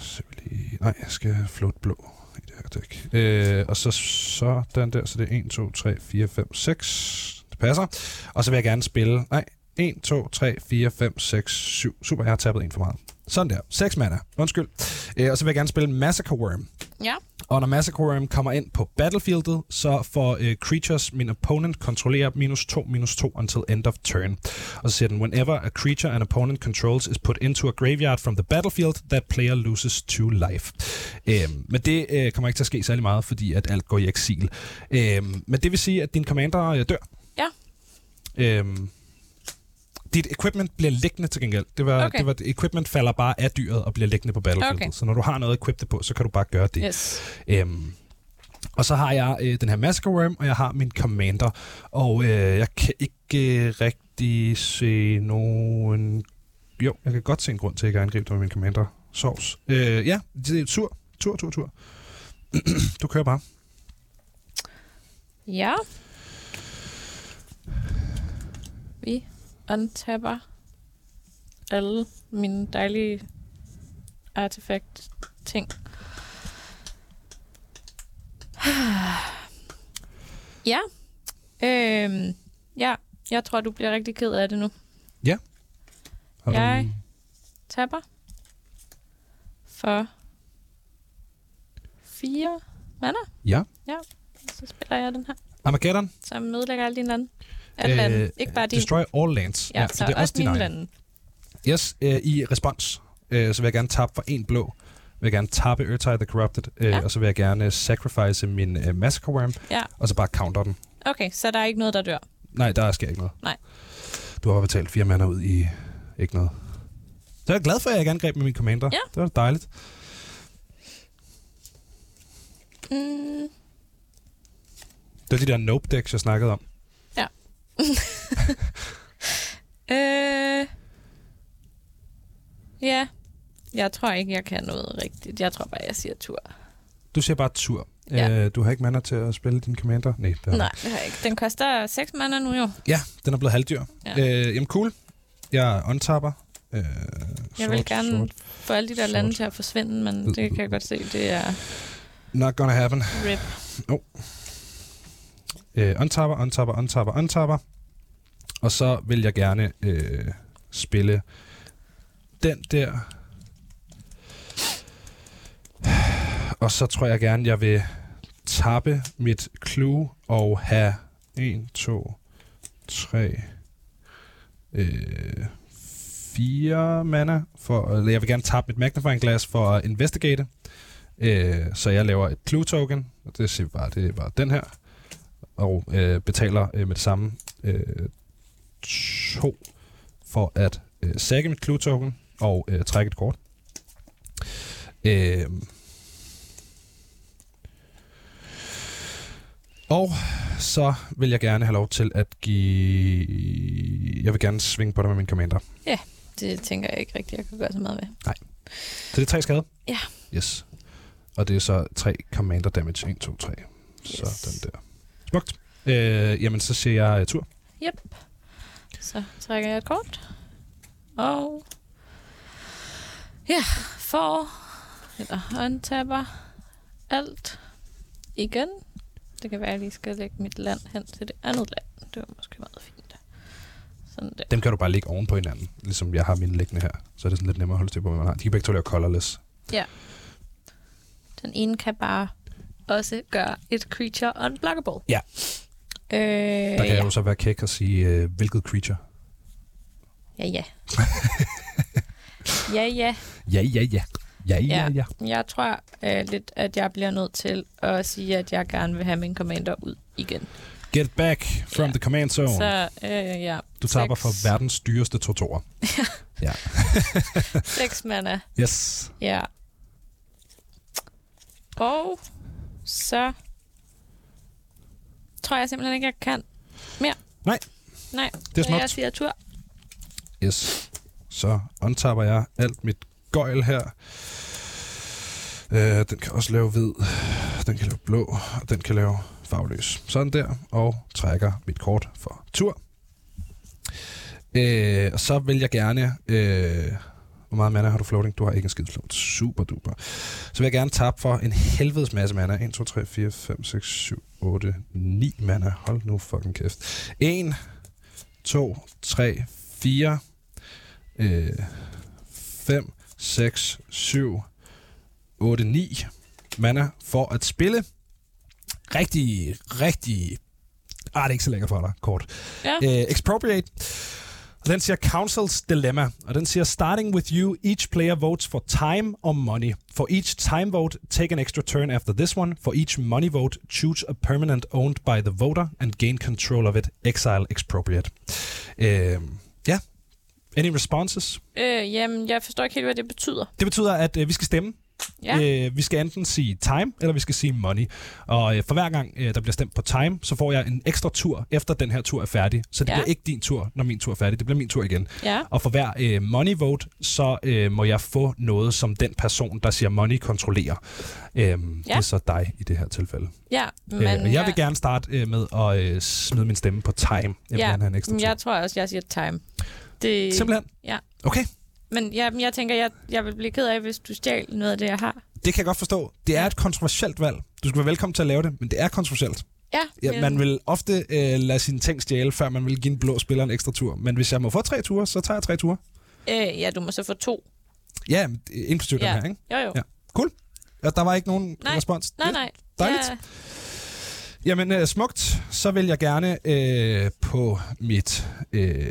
[SPEAKER 3] Så vil jeg lige- Nej, jeg skal flot blå i det her dæk. Øh, og så så den der, så det er 1, 2, 3, 4, 5, 6. Det passer. Og så vil jeg gerne spille... Nej, 1, 2, 3, 4, 5, 6, 7. Super, jeg har tappet en for meget. Sådan der. 6 mana. Undskyld. Øh, og så vil jeg gerne spille Massacre Worm.
[SPEAKER 2] Ja.
[SPEAKER 3] Og når Massacre Worm kommer ind på battlefieldet, så får øh, creatures, min opponent, kontrollerer minus 2, minus 2 until end of turn. Og så siger den, whenever a creature an opponent controls is put into a graveyard from the battlefield, that player loses 2 life. Øhm, men det øh, kommer ikke til at ske særlig meget, fordi at alt går i eksil. Øhm, men det vil sige, at din commander øh, dør.
[SPEAKER 2] Ja.
[SPEAKER 3] Øhm, dit equipment bliver liggende til gengæld. Det var,
[SPEAKER 2] Okay.
[SPEAKER 3] det var, equipment falder bare af dyret og bliver liggende på battlefieldet.
[SPEAKER 2] Okay.
[SPEAKER 3] Så når du har noget at equippe det på, så kan du bare gøre det.
[SPEAKER 2] Yes.
[SPEAKER 3] Øhm, og så har jeg øh, den her Massacre Worm, og jeg har min Commander. Og øh, jeg kan ikke øh, rigtig se nogen... Jo, jeg kan godt se en grund til, at jeg ikke har angrebet med min Commander. Sovs. Øh, ja, det er tur. Tur, tur, tur. du kører bare.
[SPEAKER 2] Ja. Vi untapper alle mine dejlige artefakt ting. Ja. Øhm, ja, jeg tror, du bliver rigtig ked af det nu.
[SPEAKER 3] Har du-
[SPEAKER 2] Jeg tapper for fire mander.
[SPEAKER 3] Ja.
[SPEAKER 2] Så spiller jeg den her,
[SPEAKER 3] Armageddon.
[SPEAKER 2] som ødelægger alle dine lande. Alle øh, lande. Ikke bare din.
[SPEAKER 3] Destroy all lands.
[SPEAKER 2] Ja, ja så,
[SPEAKER 3] det er også din
[SPEAKER 2] mine
[SPEAKER 3] egen.
[SPEAKER 2] lande.
[SPEAKER 3] Yes, øh, i respons, øh, så vil jeg gerne tappe for en blå. Jeg vil gerne tappe Urtai the Corrupted, øh,
[SPEAKER 2] Ja.
[SPEAKER 3] og så vil jeg gerne sacrifice min øh, Massacre Worm,
[SPEAKER 2] Ja.
[SPEAKER 3] og så bare counter den.
[SPEAKER 2] Okay, så der er ikke noget, der dør.
[SPEAKER 3] Nej, der sker ikke noget.
[SPEAKER 2] Nej.
[SPEAKER 3] Du har betalt fire mander ud i ikke noget. Så jeg er glad for, at jeg ikke angreb med min commander.
[SPEAKER 2] Ja.
[SPEAKER 3] Det var dejligt.
[SPEAKER 2] Mm,
[SPEAKER 3] Det var de der nope decks, jeg snakkede om.
[SPEAKER 2] øh, ja, jeg tror ikke, jeg kan noget rigtigt. Jeg tror bare, jeg siger tur.
[SPEAKER 3] Du siger bare tur.
[SPEAKER 2] Ja.
[SPEAKER 3] Øh, du har ikke mander til at spille din commander? Nej, det har du
[SPEAKER 2] Nej, det har jeg ikke. Den koster 6 mander nu jo.
[SPEAKER 3] Ja, den er blevet halvdyr.
[SPEAKER 2] Ja.
[SPEAKER 3] Øh, jamen cool. Jeg untapper. Øh,
[SPEAKER 2] Jeg vil
[SPEAKER 3] sort,
[SPEAKER 2] gerne
[SPEAKER 3] sort.
[SPEAKER 2] få alle de der
[SPEAKER 3] sort. Mm.
[SPEAKER 2] lande til at forsvinde, men det kan jeg godt se, det er
[SPEAKER 3] Not gonna happen.
[SPEAKER 2] rip.
[SPEAKER 3] Øh, untapper, untapper, untapper, untapper. Og så vil jeg gerne øh, spille den der. Og så tror jeg gerne, jeg vil tappe mit clue og have 1, 2, 3, øh, 4 mana. For, eller jeg vil gerne tappe mit magnifying glass for at investigate. Øh, så jeg laver et clue token, og det siger vi bare, det er bare den her og øh, betaler øh, med det samme øh, to for at øh, sække mit clue token og øh, trække et kort. Øh, og så vil jeg gerne have lov til at give... Jeg vil gerne svinge på dig med min commander.
[SPEAKER 2] Ja. det tænker jeg ikke rigtigt, jeg kan gøre så meget ved.
[SPEAKER 3] Så det er tre skade?
[SPEAKER 2] Ja.
[SPEAKER 3] Yes. Og det er så tre commander damage. 1, 2, 3.
[SPEAKER 2] Yes.
[SPEAKER 3] Sådan der. Smukt. Øh, jamen, så ser jeg øh, tur.
[SPEAKER 2] Yep. Så trækker jeg et kort. Og... Ja, for... Eller håndtapper. Alt. Igen. Det kan være, at jeg lige skal lægge mit land hen til det andet land. Det var måske meget fint. Sådan der.
[SPEAKER 3] Dem kan du bare lægge oven på hinanden, ligesom jeg har mine liggende her. Så er det sådan lidt nemmere at holde styr på, hvad man har. De kan begge to lave colorless.
[SPEAKER 2] Den ene kan bare også gøre et creature unblockable.
[SPEAKER 3] Ja.
[SPEAKER 2] Øh,
[SPEAKER 3] Der kan
[SPEAKER 2] ja.
[SPEAKER 3] jeg jo så være kæk og sige, øh, hvilket creature.
[SPEAKER 2] ja, ja. ja, ja.
[SPEAKER 3] Ja, ja, ja. Ja, ja,
[SPEAKER 2] Ja.
[SPEAKER 3] ja.
[SPEAKER 2] Jeg tror øh, lidt, at jeg bliver nødt til at sige, at jeg gerne vil have min commander ud igen.
[SPEAKER 3] Get back from
[SPEAKER 2] Ja.
[SPEAKER 3] the command zone.
[SPEAKER 2] Så øh, ja,
[SPEAKER 3] du taber for
[SPEAKER 2] seks.
[SPEAKER 3] verdens dyreste tortorer.
[SPEAKER 2] seks mana.
[SPEAKER 3] Yes.
[SPEAKER 2] Ja. Og så tror jeg simpelthen ikke, jeg kan mere.
[SPEAKER 3] Nej.
[SPEAKER 2] Nej,
[SPEAKER 3] Det er
[SPEAKER 2] så jeg
[SPEAKER 3] smukt.
[SPEAKER 2] siger tur.
[SPEAKER 3] Yes. Så untapper jeg alt mit gøjl her. Øh, den kan også lave hvid, den kan lave blå, og den kan lave farveløs. Sådan der, og trækker mit kort for tur. Øh, og så vil jeg gerne... Øh, hvor meget mana har du floating? Du har ikke en skid float. Super duper. Så vil jeg gerne tabe for en helvedes masse mana. 1, 2, 3, 4, 5, 6, 7, 8, 9 mana. Hold nu fucking kæft. 1, 2, 3, 4, Øh, 5, 6, 7, 8, 9 mana for at spille. Rigtig, rigtig... Ah, det er ikke så lækkert for dig, kort.
[SPEAKER 2] Ja.
[SPEAKER 3] Øh, expropriate. Og den siger Council's Dilemma, og den siger, starting with you, each player votes for time or money. For each time vote, take an extra turn after this one. For each money vote, choose a permanent owned by the voter and gain control of it. Exile Expropriate. Øh, ja. Any responses?
[SPEAKER 2] Øh, jamen, jeg forstår ikke helt, hvad det betyder.
[SPEAKER 3] Det betyder, at øh, vi skal stemme.
[SPEAKER 2] Ja.
[SPEAKER 3] Øh, vi skal enten sige time, eller vi skal sige money. Og øh, for hver gang, øh, der bliver stemt på time, så får jeg en ekstra tur, efter den her tur er færdig. Så det ja.
[SPEAKER 2] Ja.
[SPEAKER 3] bliver ikke din tur, når min tur er færdig. Det bliver min tur igen.
[SPEAKER 2] Ja.
[SPEAKER 3] Og for hver øh, money vote, så øh, må jeg få noget, som den person, der siger money, kontrollerer. Øhm, ja. Det er så dig i det her tilfælde.
[SPEAKER 2] Ja,
[SPEAKER 3] Men, øh,
[SPEAKER 2] men
[SPEAKER 3] og jeg vil gerne starte øh, med at øh, smide min stemme på time. Jeg vil
[SPEAKER 2] Ja,
[SPEAKER 3] gerne have en ekstra
[SPEAKER 2] men
[SPEAKER 3] tur.
[SPEAKER 2] jeg tror også, jeg siger time. Det,
[SPEAKER 3] Simpelthen?
[SPEAKER 2] Ja.
[SPEAKER 3] Okay,
[SPEAKER 2] Men jeg, jeg tænker, jeg, jeg vil blive ked af, hvis du stjal noget af det, jeg har.
[SPEAKER 3] det kan jeg godt forstå. Det er et kontroversielt valg. Du skal være velkommen til at lave det, men det er kontroversielt.
[SPEAKER 2] Ja,
[SPEAKER 3] Ja, man vil ofte øh, lade sine ting stjæle, før man vil give en blå spiller en ekstra tur. Men hvis jeg må få tre ture, så tager jeg tre ture.
[SPEAKER 2] Øh, ja, du må så få to.
[SPEAKER 3] Ja, men, øh, inklusive ja.
[SPEAKER 2] Ja.
[SPEAKER 3] den her, ikke?
[SPEAKER 2] Jo, jo.
[SPEAKER 3] Ja.
[SPEAKER 2] Ja.
[SPEAKER 3] Cool. Og der var ikke nogen
[SPEAKER 2] Nej.
[SPEAKER 3] respons.
[SPEAKER 2] Nej,
[SPEAKER 3] Det-
[SPEAKER 2] nej.
[SPEAKER 3] dejligt.
[SPEAKER 2] Ja,
[SPEAKER 3] Jamen, øh, smukt. Så vil jeg gerne øh, på mit... Øh,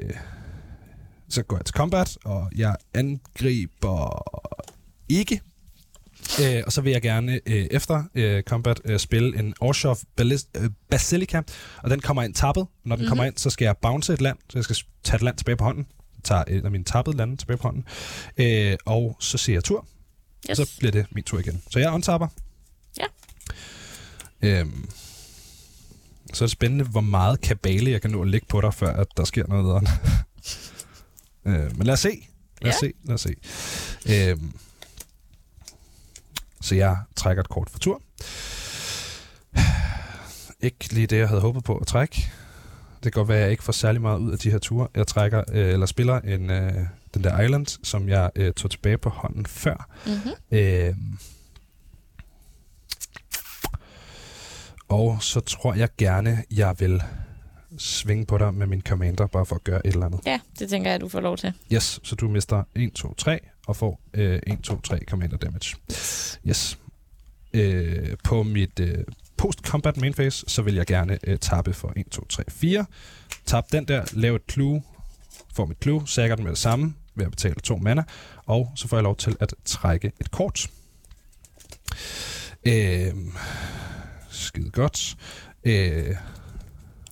[SPEAKER 3] så går jeg til combat, og jeg angriber ikke. Øh, og så vil jeg gerne øh, efter øh, combat øh, spille en Orshov Balis- øh, Basilica, og den kommer ind tappet. Når den mm-hmm. kommer ind, så skal jeg bounce et land, så jeg skal s- tage et land tilbage på hånden. Jeg tager et af mine tappede lande tilbage på hånden. Øh, og så ser jeg tur,
[SPEAKER 2] yes.
[SPEAKER 3] yes. så bliver det min tur igen. Så jeg untapper.
[SPEAKER 2] Ja.
[SPEAKER 3] Øhm, så er det spændende, hvor meget kabale jeg kan nå at lægge på dig, før at der sker noget andet. øh, men lad os se. Lad os
[SPEAKER 2] Ja.
[SPEAKER 3] se, lad os se. Øhm, så jeg trækker et kort for tur. Ikke lige det, jeg havde håbet på at trække. Det kan godt være, at jeg ikke får særlig meget ud af de her ture. Jeg trækker, øh, eller spiller en, øh, den der island, som jeg øh, tog tilbage på hånden før.
[SPEAKER 2] Mm-hmm.
[SPEAKER 3] Øh, og så tror jeg gerne, jeg vil svinge på dig med min commander, bare for at gøre et eller andet.
[SPEAKER 2] ja, det tænker jeg, du får lov til.
[SPEAKER 3] Yes, så du mister 1, 2, 3 og får øh, 1, 2, 3 commander damage. Yes. Øh, på mit øh, post-combat main phase, så vil jeg gerne øh, tappe for 1, 2, 3, 4. Tab den der, lav et clue, får mit clue, sækker den med det samme, ved at betale to mana, og så får jeg lov til at trække et kort. Øh, skide godt. Øh,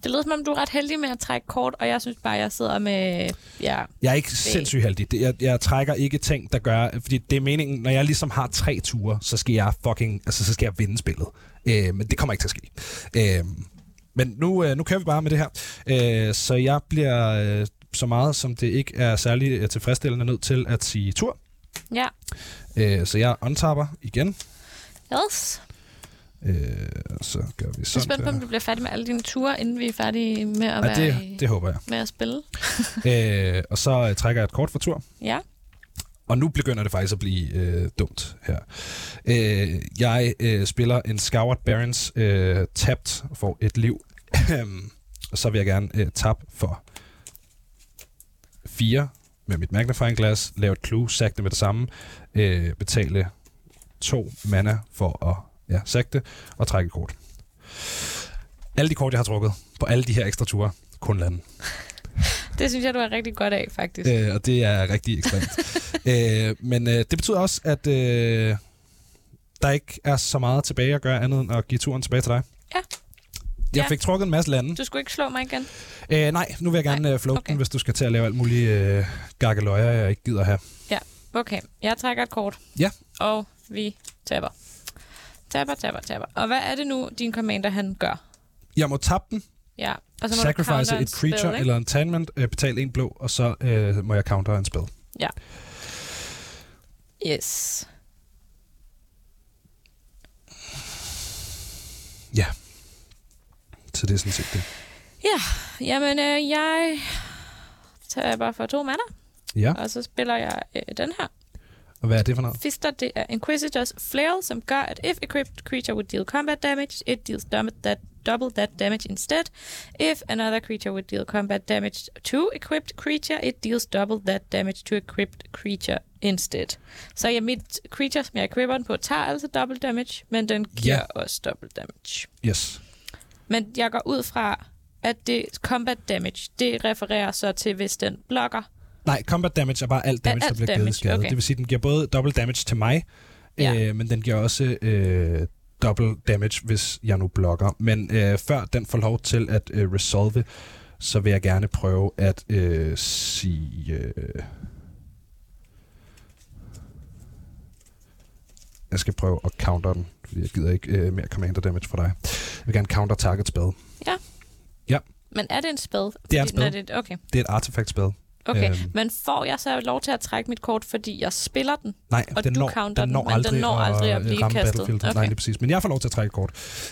[SPEAKER 2] Det lyder, som om du er ret heldig med at trække kort, og jeg synes bare, jeg sidder med... Ja,
[SPEAKER 3] Jeg er ikke sindssygt heldig. Det- Jeg, jeg trækker ikke ting, der gør... Fordi det er meningen, når jeg ligesom har tre ture, så skal jeg fucking... Altså, så skal jeg vinde spillet. Øh, men det kommer ikke til at ske. Øh, men nu, øh, nu kører vi bare med det her. Øh, så jeg bliver øh, så meget, som det ikke er særlig øh, tilfredsstillende nødt til at sige tur.
[SPEAKER 2] Ja.
[SPEAKER 3] Øh, så jeg untapper igen.
[SPEAKER 2] Yes.
[SPEAKER 3] Øh, så gør vi
[SPEAKER 2] Så er
[SPEAKER 3] sådan
[SPEAKER 2] spændt på, om
[SPEAKER 3] der.
[SPEAKER 2] du bliver færdig med alle dine ture, inden vi er færdige med at
[SPEAKER 3] Ja,
[SPEAKER 2] være
[SPEAKER 3] det, det håber jeg.
[SPEAKER 2] med at spille.
[SPEAKER 3] Øh, og så øh, trækker jeg et kort for tur.
[SPEAKER 2] Ja.
[SPEAKER 3] Og nu begynder det faktisk at blive øh, dumt her. Øh, jeg øh, spiller en Scoured Barons øh, tabt for et liv. og så vil jeg gerne øh, tabe for 4 med mit magnifying glas, lave et clue, sække det med det samme, øh, betale to mana for at ja, sække det, og trække et kort. Alle de kort, jeg har trukket på alle de her ekstra ture, kun lande.
[SPEAKER 2] Det synes jeg, du er rigtig godt af, faktisk. Øh.
[SPEAKER 3] Øh, og det er rigtig ekstremt. øh, men øh, det betyder også, at øh, der ikke er så meget tilbage at gøre andet end at give turen tilbage til dig.
[SPEAKER 2] Ja.
[SPEAKER 3] Jeg
[SPEAKER 2] Ja.
[SPEAKER 3] fik trukket en masse lande.
[SPEAKER 2] Du skulle ikke slå mig igen.
[SPEAKER 3] Øh, nej, nu vil jeg gerne øh, float okay.
[SPEAKER 2] okay.
[SPEAKER 3] den, hvis du skal til at lave alt muligt øh, gakkeløjer, jeg ikke gider have.
[SPEAKER 2] Okay, jeg trækker et kort.
[SPEAKER 3] Ja.
[SPEAKER 2] Og vi taber. Taber, taber, taber. Og hvad er det nu, din commander han gør?
[SPEAKER 3] Jeg må tabe den,
[SPEAKER 2] Ja. Og så må du
[SPEAKER 3] sacrifice
[SPEAKER 2] counter
[SPEAKER 3] et
[SPEAKER 2] en
[SPEAKER 3] creature
[SPEAKER 2] spell,
[SPEAKER 3] spell,
[SPEAKER 2] ikke?
[SPEAKER 3] eller enchantment, øh, betale en blå, og så øh, må jeg counter en spell.
[SPEAKER 2] Yes.
[SPEAKER 3] Så det er sådan set det.
[SPEAKER 2] Jamen, øh, jeg taber for to mander,
[SPEAKER 3] Ja,
[SPEAKER 2] og så spiller jeg øh, den her.
[SPEAKER 3] og hvad er det for noget?
[SPEAKER 2] Fister, det er Inquisitor's Flail, som gør, at if equipped creature would deal combat damage, it deals dam- that double that damage instead. If another creature would deal combat damage to equipped creature, it deals double that damage to equipped creature instead. Så jeg mit creature, som jeg equipper den på, tager altså double damage, men den giver
[SPEAKER 3] Ja.
[SPEAKER 2] yeah. også double damage.
[SPEAKER 3] Yes.
[SPEAKER 2] Men jeg går ud fra, at det combat damage, det refererer så til, hvis den blokker.
[SPEAKER 3] Nej, combat damage er bare alt damage,
[SPEAKER 2] Alt
[SPEAKER 3] der bliver
[SPEAKER 2] damage,
[SPEAKER 3] givet i skade.
[SPEAKER 2] okay.
[SPEAKER 3] Det vil sige, at den giver både double damage til mig,
[SPEAKER 2] Ja.
[SPEAKER 3] øh, men den giver også øh, double damage, hvis jeg nu blokker. Men øh, før den får lov til at øh, resolve, så vil jeg gerne prøve at øh, sige... Øh, jeg skal prøve at counter den, fordi jeg gider ikke øh, mere commander damage fra dig. Jeg vil gerne counter target spell.
[SPEAKER 2] Men er det en spell?
[SPEAKER 3] Det er en
[SPEAKER 2] Fordi- når
[SPEAKER 3] spell.
[SPEAKER 2] Det, okay,
[SPEAKER 3] Det er et artefakt spell.
[SPEAKER 2] okay.
[SPEAKER 3] Øhm.
[SPEAKER 2] Men får jeg så lov til at trække mit kort, fordi jeg spiller den?
[SPEAKER 3] Nej,
[SPEAKER 2] Og
[SPEAKER 3] den
[SPEAKER 2] du
[SPEAKER 3] når,
[SPEAKER 2] counter
[SPEAKER 3] den
[SPEAKER 2] den,
[SPEAKER 3] når
[SPEAKER 2] men den
[SPEAKER 3] aldrig,
[SPEAKER 2] når aldrig at
[SPEAKER 3] øh,
[SPEAKER 2] blive
[SPEAKER 3] ramme
[SPEAKER 2] kastet.
[SPEAKER 3] battlefieldet. Nej,
[SPEAKER 2] Okay.
[SPEAKER 3] lige præcis. Men jeg får lov til at trække et kort.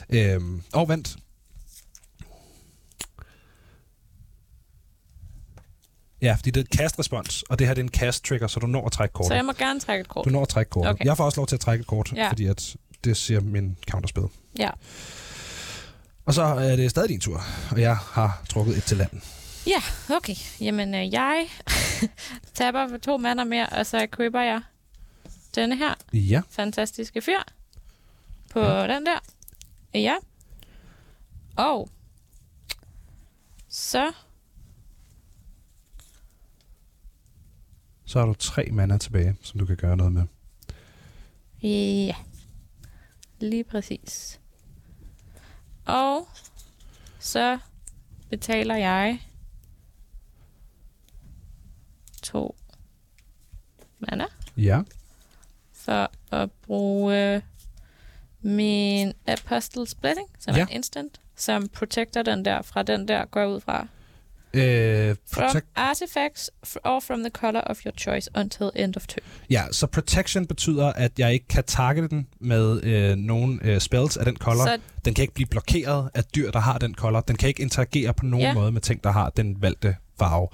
[SPEAKER 3] Øhm, og vent. Ja, fordi det er et kast-respons, og det her det er en kast-trigger, så du når at trække
[SPEAKER 2] Så
[SPEAKER 3] kortet.
[SPEAKER 2] jeg må gerne trække et kort.
[SPEAKER 3] Du når at trække kortet. Okay.
[SPEAKER 2] Okay.
[SPEAKER 3] Jeg får også lov til at trække et kort, ja.
[SPEAKER 2] Ja.
[SPEAKER 3] fordi at det siger min counterspil.
[SPEAKER 2] Ja.
[SPEAKER 3] Og så er det stadig din tur, og jeg har trukket et til landen.
[SPEAKER 2] Ja, okay. Jamen, øh, jeg taber for to mander mere, og så køber jeg denne her
[SPEAKER 3] Ja,
[SPEAKER 2] fantastiske fyr på
[SPEAKER 3] Ja.
[SPEAKER 2] ja. den der. Ja. Og så
[SPEAKER 3] så har du tre mana tilbage, som du kan gøre noget med.
[SPEAKER 2] Ja, lige præcis. Og så betaler jeg to mana
[SPEAKER 3] Ja,
[SPEAKER 2] for at bruge min Apostle's Blessing, som
[SPEAKER 3] Ja.
[SPEAKER 2] er en instant, som protecter den der fra den der, går jeg ud fra.
[SPEAKER 3] øh,
[SPEAKER 2] From
[SPEAKER 3] protect,
[SPEAKER 2] artifacts f- or from the color of your choice until end of turn.
[SPEAKER 3] Ja, så protection betyder, at jeg ikke kan targete den med øh, nogen øh, spells af den color. Så...
[SPEAKER 2] Så
[SPEAKER 3] Den kan ikke blive blokeret af dyr, der har den color. Den kan ikke interagere på nogen ja.
[SPEAKER 2] Ja.
[SPEAKER 3] måde med ting, der har den valgte farve.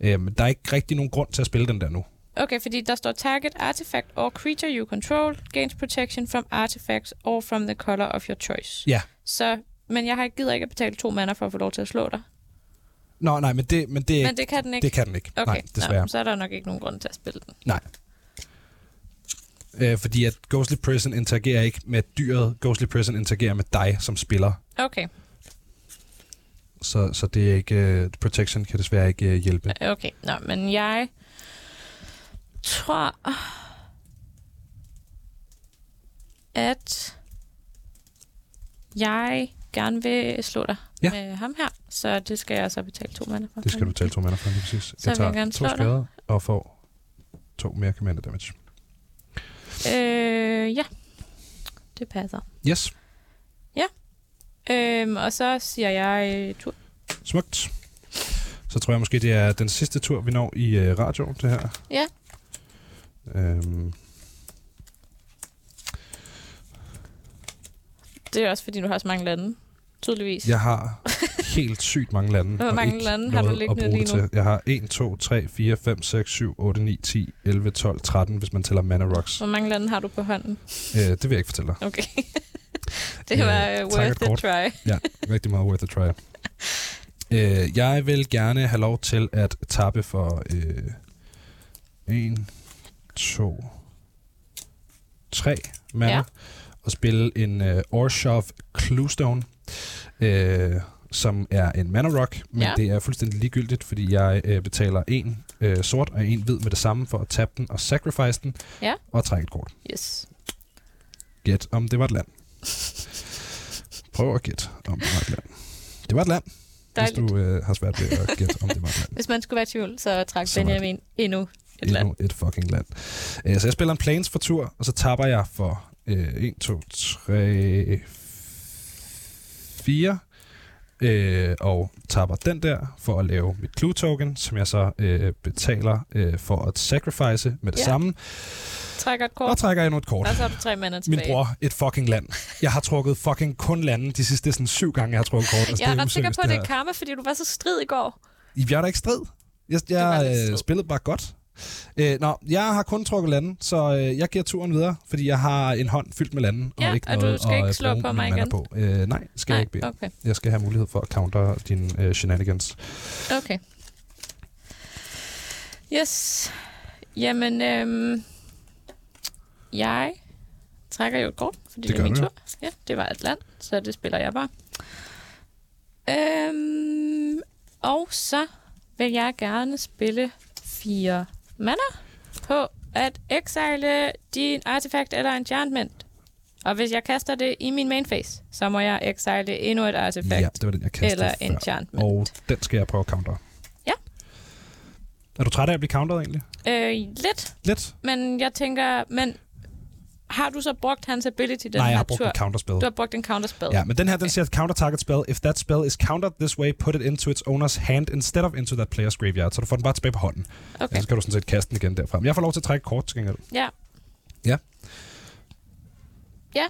[SPEAKER 3] Øh, men der er ikke rigtig nogen grund til at spille den der nu.
[SPEAKER 2] Okay, fordi der står target artifact or creature you control gains protection from artifacts or from the color of your choice.
[SPEAKER 3] Ja.
[SPEAKER 2] Så, men jeg har ikke gider ikke at betale to mander for at få lov til at slå dig.
[SPEAKER 3] Nå, nej, men det, men det,
[SPEAKER 2] Men det kan den ikke.
[SPEAKER 3] det kan den ikke.
[SPEAKER 2] okay,
[SPEAKER 3] Nej, desværre.
[SPEAKER 2] Nå, så er der nok ikke nogen grund til at spille den.
[SPEAKER 3] Øh, fordi at Ghostly Prison interagerer ikke med dyret. Ghostly Prison interagerer med dig som spiller.
[SPEAKER 2] Okay,
[SPEAKER 3] Så, så det er ikke... Øh, protection kan desværre ikke øh, hjælpe.
[SPEAKER 2] okay. Nå, men jeg tror, at jeg gerne vil slå dig
[SPEAKER 3] Ja.
[SPEAKER 2] med ham her. Så det skal jeg så betale to mander for.
[SPEAKER 3] Det skal du tale to mander for, lige præcis.
[SPEAKER 2] Så
[SPEAKER 3] jeg
[SPEAKER 2] vil jeg
[SPEAKER 3] tager
[SPEAKER 2] gerne
[SPEAKER 3] to
[SPEAKER 2] slå dig.
[SPEAKER 3] skader og får to mere commander damage.
[SPEAKER 2] Øh, ja. Det passer.
[SPEAKER 3] Yes,
[SPEAKER 2] Øhm, og så siger jeg øh, tur.
[SPEAKER 3] smukt. Så tror jeg måske, det er den sidste tur, vi når i øh, radioen, det her.
[SPEAKER 2] Ja.
[SPEAKER 3] Øhm,
[SPEAKER 2] Det er også, fordi du har så mange lande. Tydeligvis.
[SPEAKER 3] jeg har helt sygt mange lande.
[SPEAKER 2] Hvor
[SPEAKER 3] og
[SPEAKER 2] mange
[SPEAKER 3] ikke
[SPEAKER 2] lande har du
[SPEAKER 3] noget at
[SPEAKER 2] liggende
[SPEAKER 3] bruge
[SPEAKER 2] lige nu?
[SPEAKER 3] det til. Jeg har 1, 2, 3, 4, 5, 6, 7, 8, 9, 10, 11, 12, 13, hvis man tæller Mana Rocks.
[SPEAKER 2] Hvor mange lande har du på hånden?
[SPEAKER 3] Øh, det vil jeg ikke fortælle dig.
[SPEAKER 2] Okay. det var
[SPEAKER 3] Øh, tak
[SPEAKER 2] uh,
[SPEAKER 3] og
[SPEAKER 2] worth a
[SPEAKER 3] kort.
[SPEAKER 2] try.
[SPEAKER 3] Rigtig meget worth a try. Øh, jeg vil gerne have lov til at tappe for øh, 1, 2, 3 mander
[SPEAKER 2] Ja.
[SPEAKER 3] ja. og spille en øh, Orshov Cluestone, øh, som er en mana rock, men
[SPEAKER 2] Ja.
[SPEAKER 3] ja. det er fuldstændig ligegyldigt, fordi jeg øh, betaler en øh, sort og en hvid med det samme for at tabe den og sacrifice den
[SPEAKER 2] Ja.
[SPEAKER 3] og trække et kort.
[SPEAKER 2] Yes.
[SPEAKER 3] Gæt om det var et land. Prøv at gætte om det var et land. Det var et land.
[SPEAKER 2] Dejligt.
[SPEAKER 3] Hvis du øh, har svært ved at gætte, om det var et land.
[SPEAKER 2] Hvis man skulle være i tvivl, så trak
[SPEAKER 3] Så var det
[SPEAKER 2] Benjamin endnu et land.
[SPEAKER 3] Endnu et fucking land. Øh, så jeg spiller en planes for tur, og så tapper jeg for øh, 1, 2, 3, 4. Øh, og tapper den der for at lave mit clue token, som jeg så øh, betaler øh, for at sacrifice med det
[SPEAKER 2] Ja.
[SPEAKER 3] ja. samme.
[SPEAKER 2] Trækker et kort,
[SPEAKER 3] Og trækker endnu et kort.
[SPEAKER 2] og så har du tre mænd tilbage.
[SPEAKER 3] Min bror, et fucking land. Jeg har trukket fucking kun lande de sidste sådan, syv gange, jeg har trukket kort. Altså,
[SPEAKER 2] Jeg er ret sikker
[SPEAKER 3] useriøst,
[SPEAKER 2] på, at det
[SPEAKER 3] her.
[SPEAKER 2] er karma, fordi du var så strid i går.
[SPEAKER 3] Jeg er da ikke strid. Jeg,
[SPEAKER 2] var
[SPEAKER 3] jeg
[SPEAKER 2] lidt strid.
[SPEAKER 3] øh, spillede bare godt. Øh, nå, jeg har kun trukket landen, så øh, jeg giver turen videre, fordi jeg har en hånd fyldt med landen.
[SPEAKER 2] Ja,
[SPEAKER 3] og, ikke
[SPEAKER 2] og du
[SPEAKER 3] noget
[SPEAKER 2] skal
[SPEAKER 3] at,
[SPEAKER 2] ikke
[SPEAKER 3] øh,
[SPEAKER 2] slå
[SPEAKER 3] bruge
[SPEAKER 2] på
[SPEAKER 3] min
[SPEAKER 2] mig
[SPEAKER 3] mana
[SPEAKER 2] igen?
[SPEAKER 3] På. Øh, nej, skal jeg ikke bede.
[SPEAKER 2] okay.
[SPEAKER 3] Jeg skal have mulighed for at counter dine øh, shenanigans.
[SPEAKER 2] okay. Yes. Jamen, øhm, jeg trækker jo et kort, fordi det,
[SPEAKER 3] Det
[SPEAKER 2] det er
[SPEAKER 3] gør
[SPEAKER 2] min
[SPEAKER 3] du, ja.
[SPEAKER 2] tur. Ja, det var et land, så det spiller jeg bare. Øhm, og så vil jeg gerne spille fire mander på at exile din artefakt eller enchantment. Og hvis jeg kaster det i min main phase, så må jeg exile endnu et artefakt
[SPEAKER 3] Ja, det var den, jeg kastede
[SPEAKER 2] eller
[SPEAKER 3] før.
[SPEAKER 2] enchantment.
[SPEAKER 3] Og den skal jeg prøve at counter.
[SPEAKER 2] Ja.
[SPEAKER 3] Er du træt af at blive counteret egentlig?
[SPEAKER 2] Øh, lidt,
[SPEAKER 3] Lidt?
[SPEAKER 2] men jeg tænker, men har du så brugt hans ability den
[SPEAKER 3] nej,
[SPEAKER 2] her
[SPEAKER 3] jeg har brugt
[SPEAKER 2] tur?
[SPEAKER 3] en counterspil.
[SPEAKER 2] Du har brugt en counterspell.
[SPEAKER 3] Ja, men den her, den siger, at counter target spell. If that spell is countered this way, put it into its owner's hand instead of into that player's graveyard. Så du får den bare tilbage på hånden.
[SPEAKER 2] Okay.
[SPEAKER 3] Ja, så kan du sådan set kaste den igen derfra. Men jeg får lov til at trække kort til gengæld.
[SPEAKER 2] Ja.
[SPEAKER 3] Ja.
[SPEAKER 2] Ja.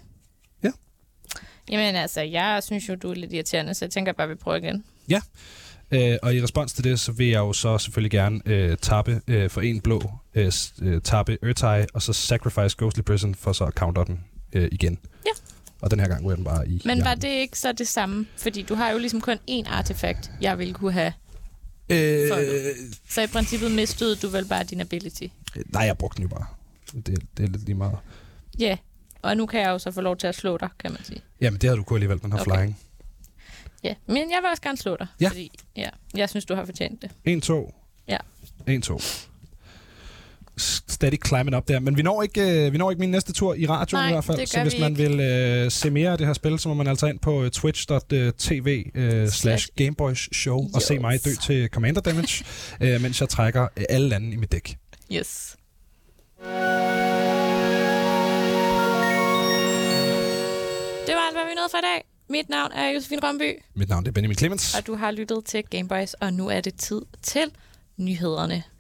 [SPEAKER 3] Ja.
[SPEAKER 2] Jamen altså, jeg synes jo, du er lidt irriterende, så jeg tænker bare, vi prøver igen.
[SPEAKER 3] Øh, og i respons til det, så vil jeg jo så selvfølgelig gerne øh, tappe øh, for en blå, øh, s- øh, tappe Urtai, og så sacrifice Ghostly Prison for så at counter den øh, igen.
[SPEAKER 2] Ja.
[SPEAKER 3] Og den her gang ryger den bare i
[SPEAKER 2] Men var
[SPEAKER 3] hjernen.
[SPEAKER 2] det ikke så det samme? Fordi du har jo ligesom kun én artefakt, jeg ville kunne have.
[SPEAKER 3] Øh,
[SPEAKER 2] Så i princippet mistede du vel bare din ability.
[SPEAKER 3] nej, jeg brugte den jo bare. Det, det er lidt lige meget.
[SPEAKER 2] Ja, yeah. og nu kan jeg jo så få lov til at slå dig, kan man sige.
[SPEAKER 3] Jamen, det havde du kunnet alligevel, den her
[SPEAKER 2] Okay.
[SPEAKER 3] okay. flying.
[SPEAKER 2] Ja, men jeg vil også gerne slå dig,
[SPEAKER 3] Ja.
[SPEAKER 2] fordi ja, jeg synes, du har fortjent det.
[SPEAKER 3] 1, 2.
[SPEAKER 2] Ja.
[SPEAKER 3] 1, 2. Stadig climbing op der. Men vi når ikke, øh, vi når ikke min næste tur i radioen
[SPEAKER 2] Nej,
[SPEAKER 3] i hvert fald.
[SPEAKER 2] det
[SPEAKER 3] så
[SPEAKER 2] gør
[SPEAKER 3] hvis
[SPEAKER 2] vi
[SPEAKER 3] man vil øh, se mere af det her spil, så må man altså ind på øh, twitch.tv øh, slash Gameboys show og se
[SPEAKER 2] Yes.
[SPEAKER 3] mig dø til Commander Damage, øh, mens jeg trækker øh, alle lande i mit dæk.
[SPEAKER 2] Yes. Det var alt, hvad vi nåede for i dag. Mit navn er Josefine Romby,
[SPEAKER 3] Mit navn det er Benjamin Clemens.
[SPEAKER 2] og du har lyttet til Gameboys, og nu er det tid til nyhederne.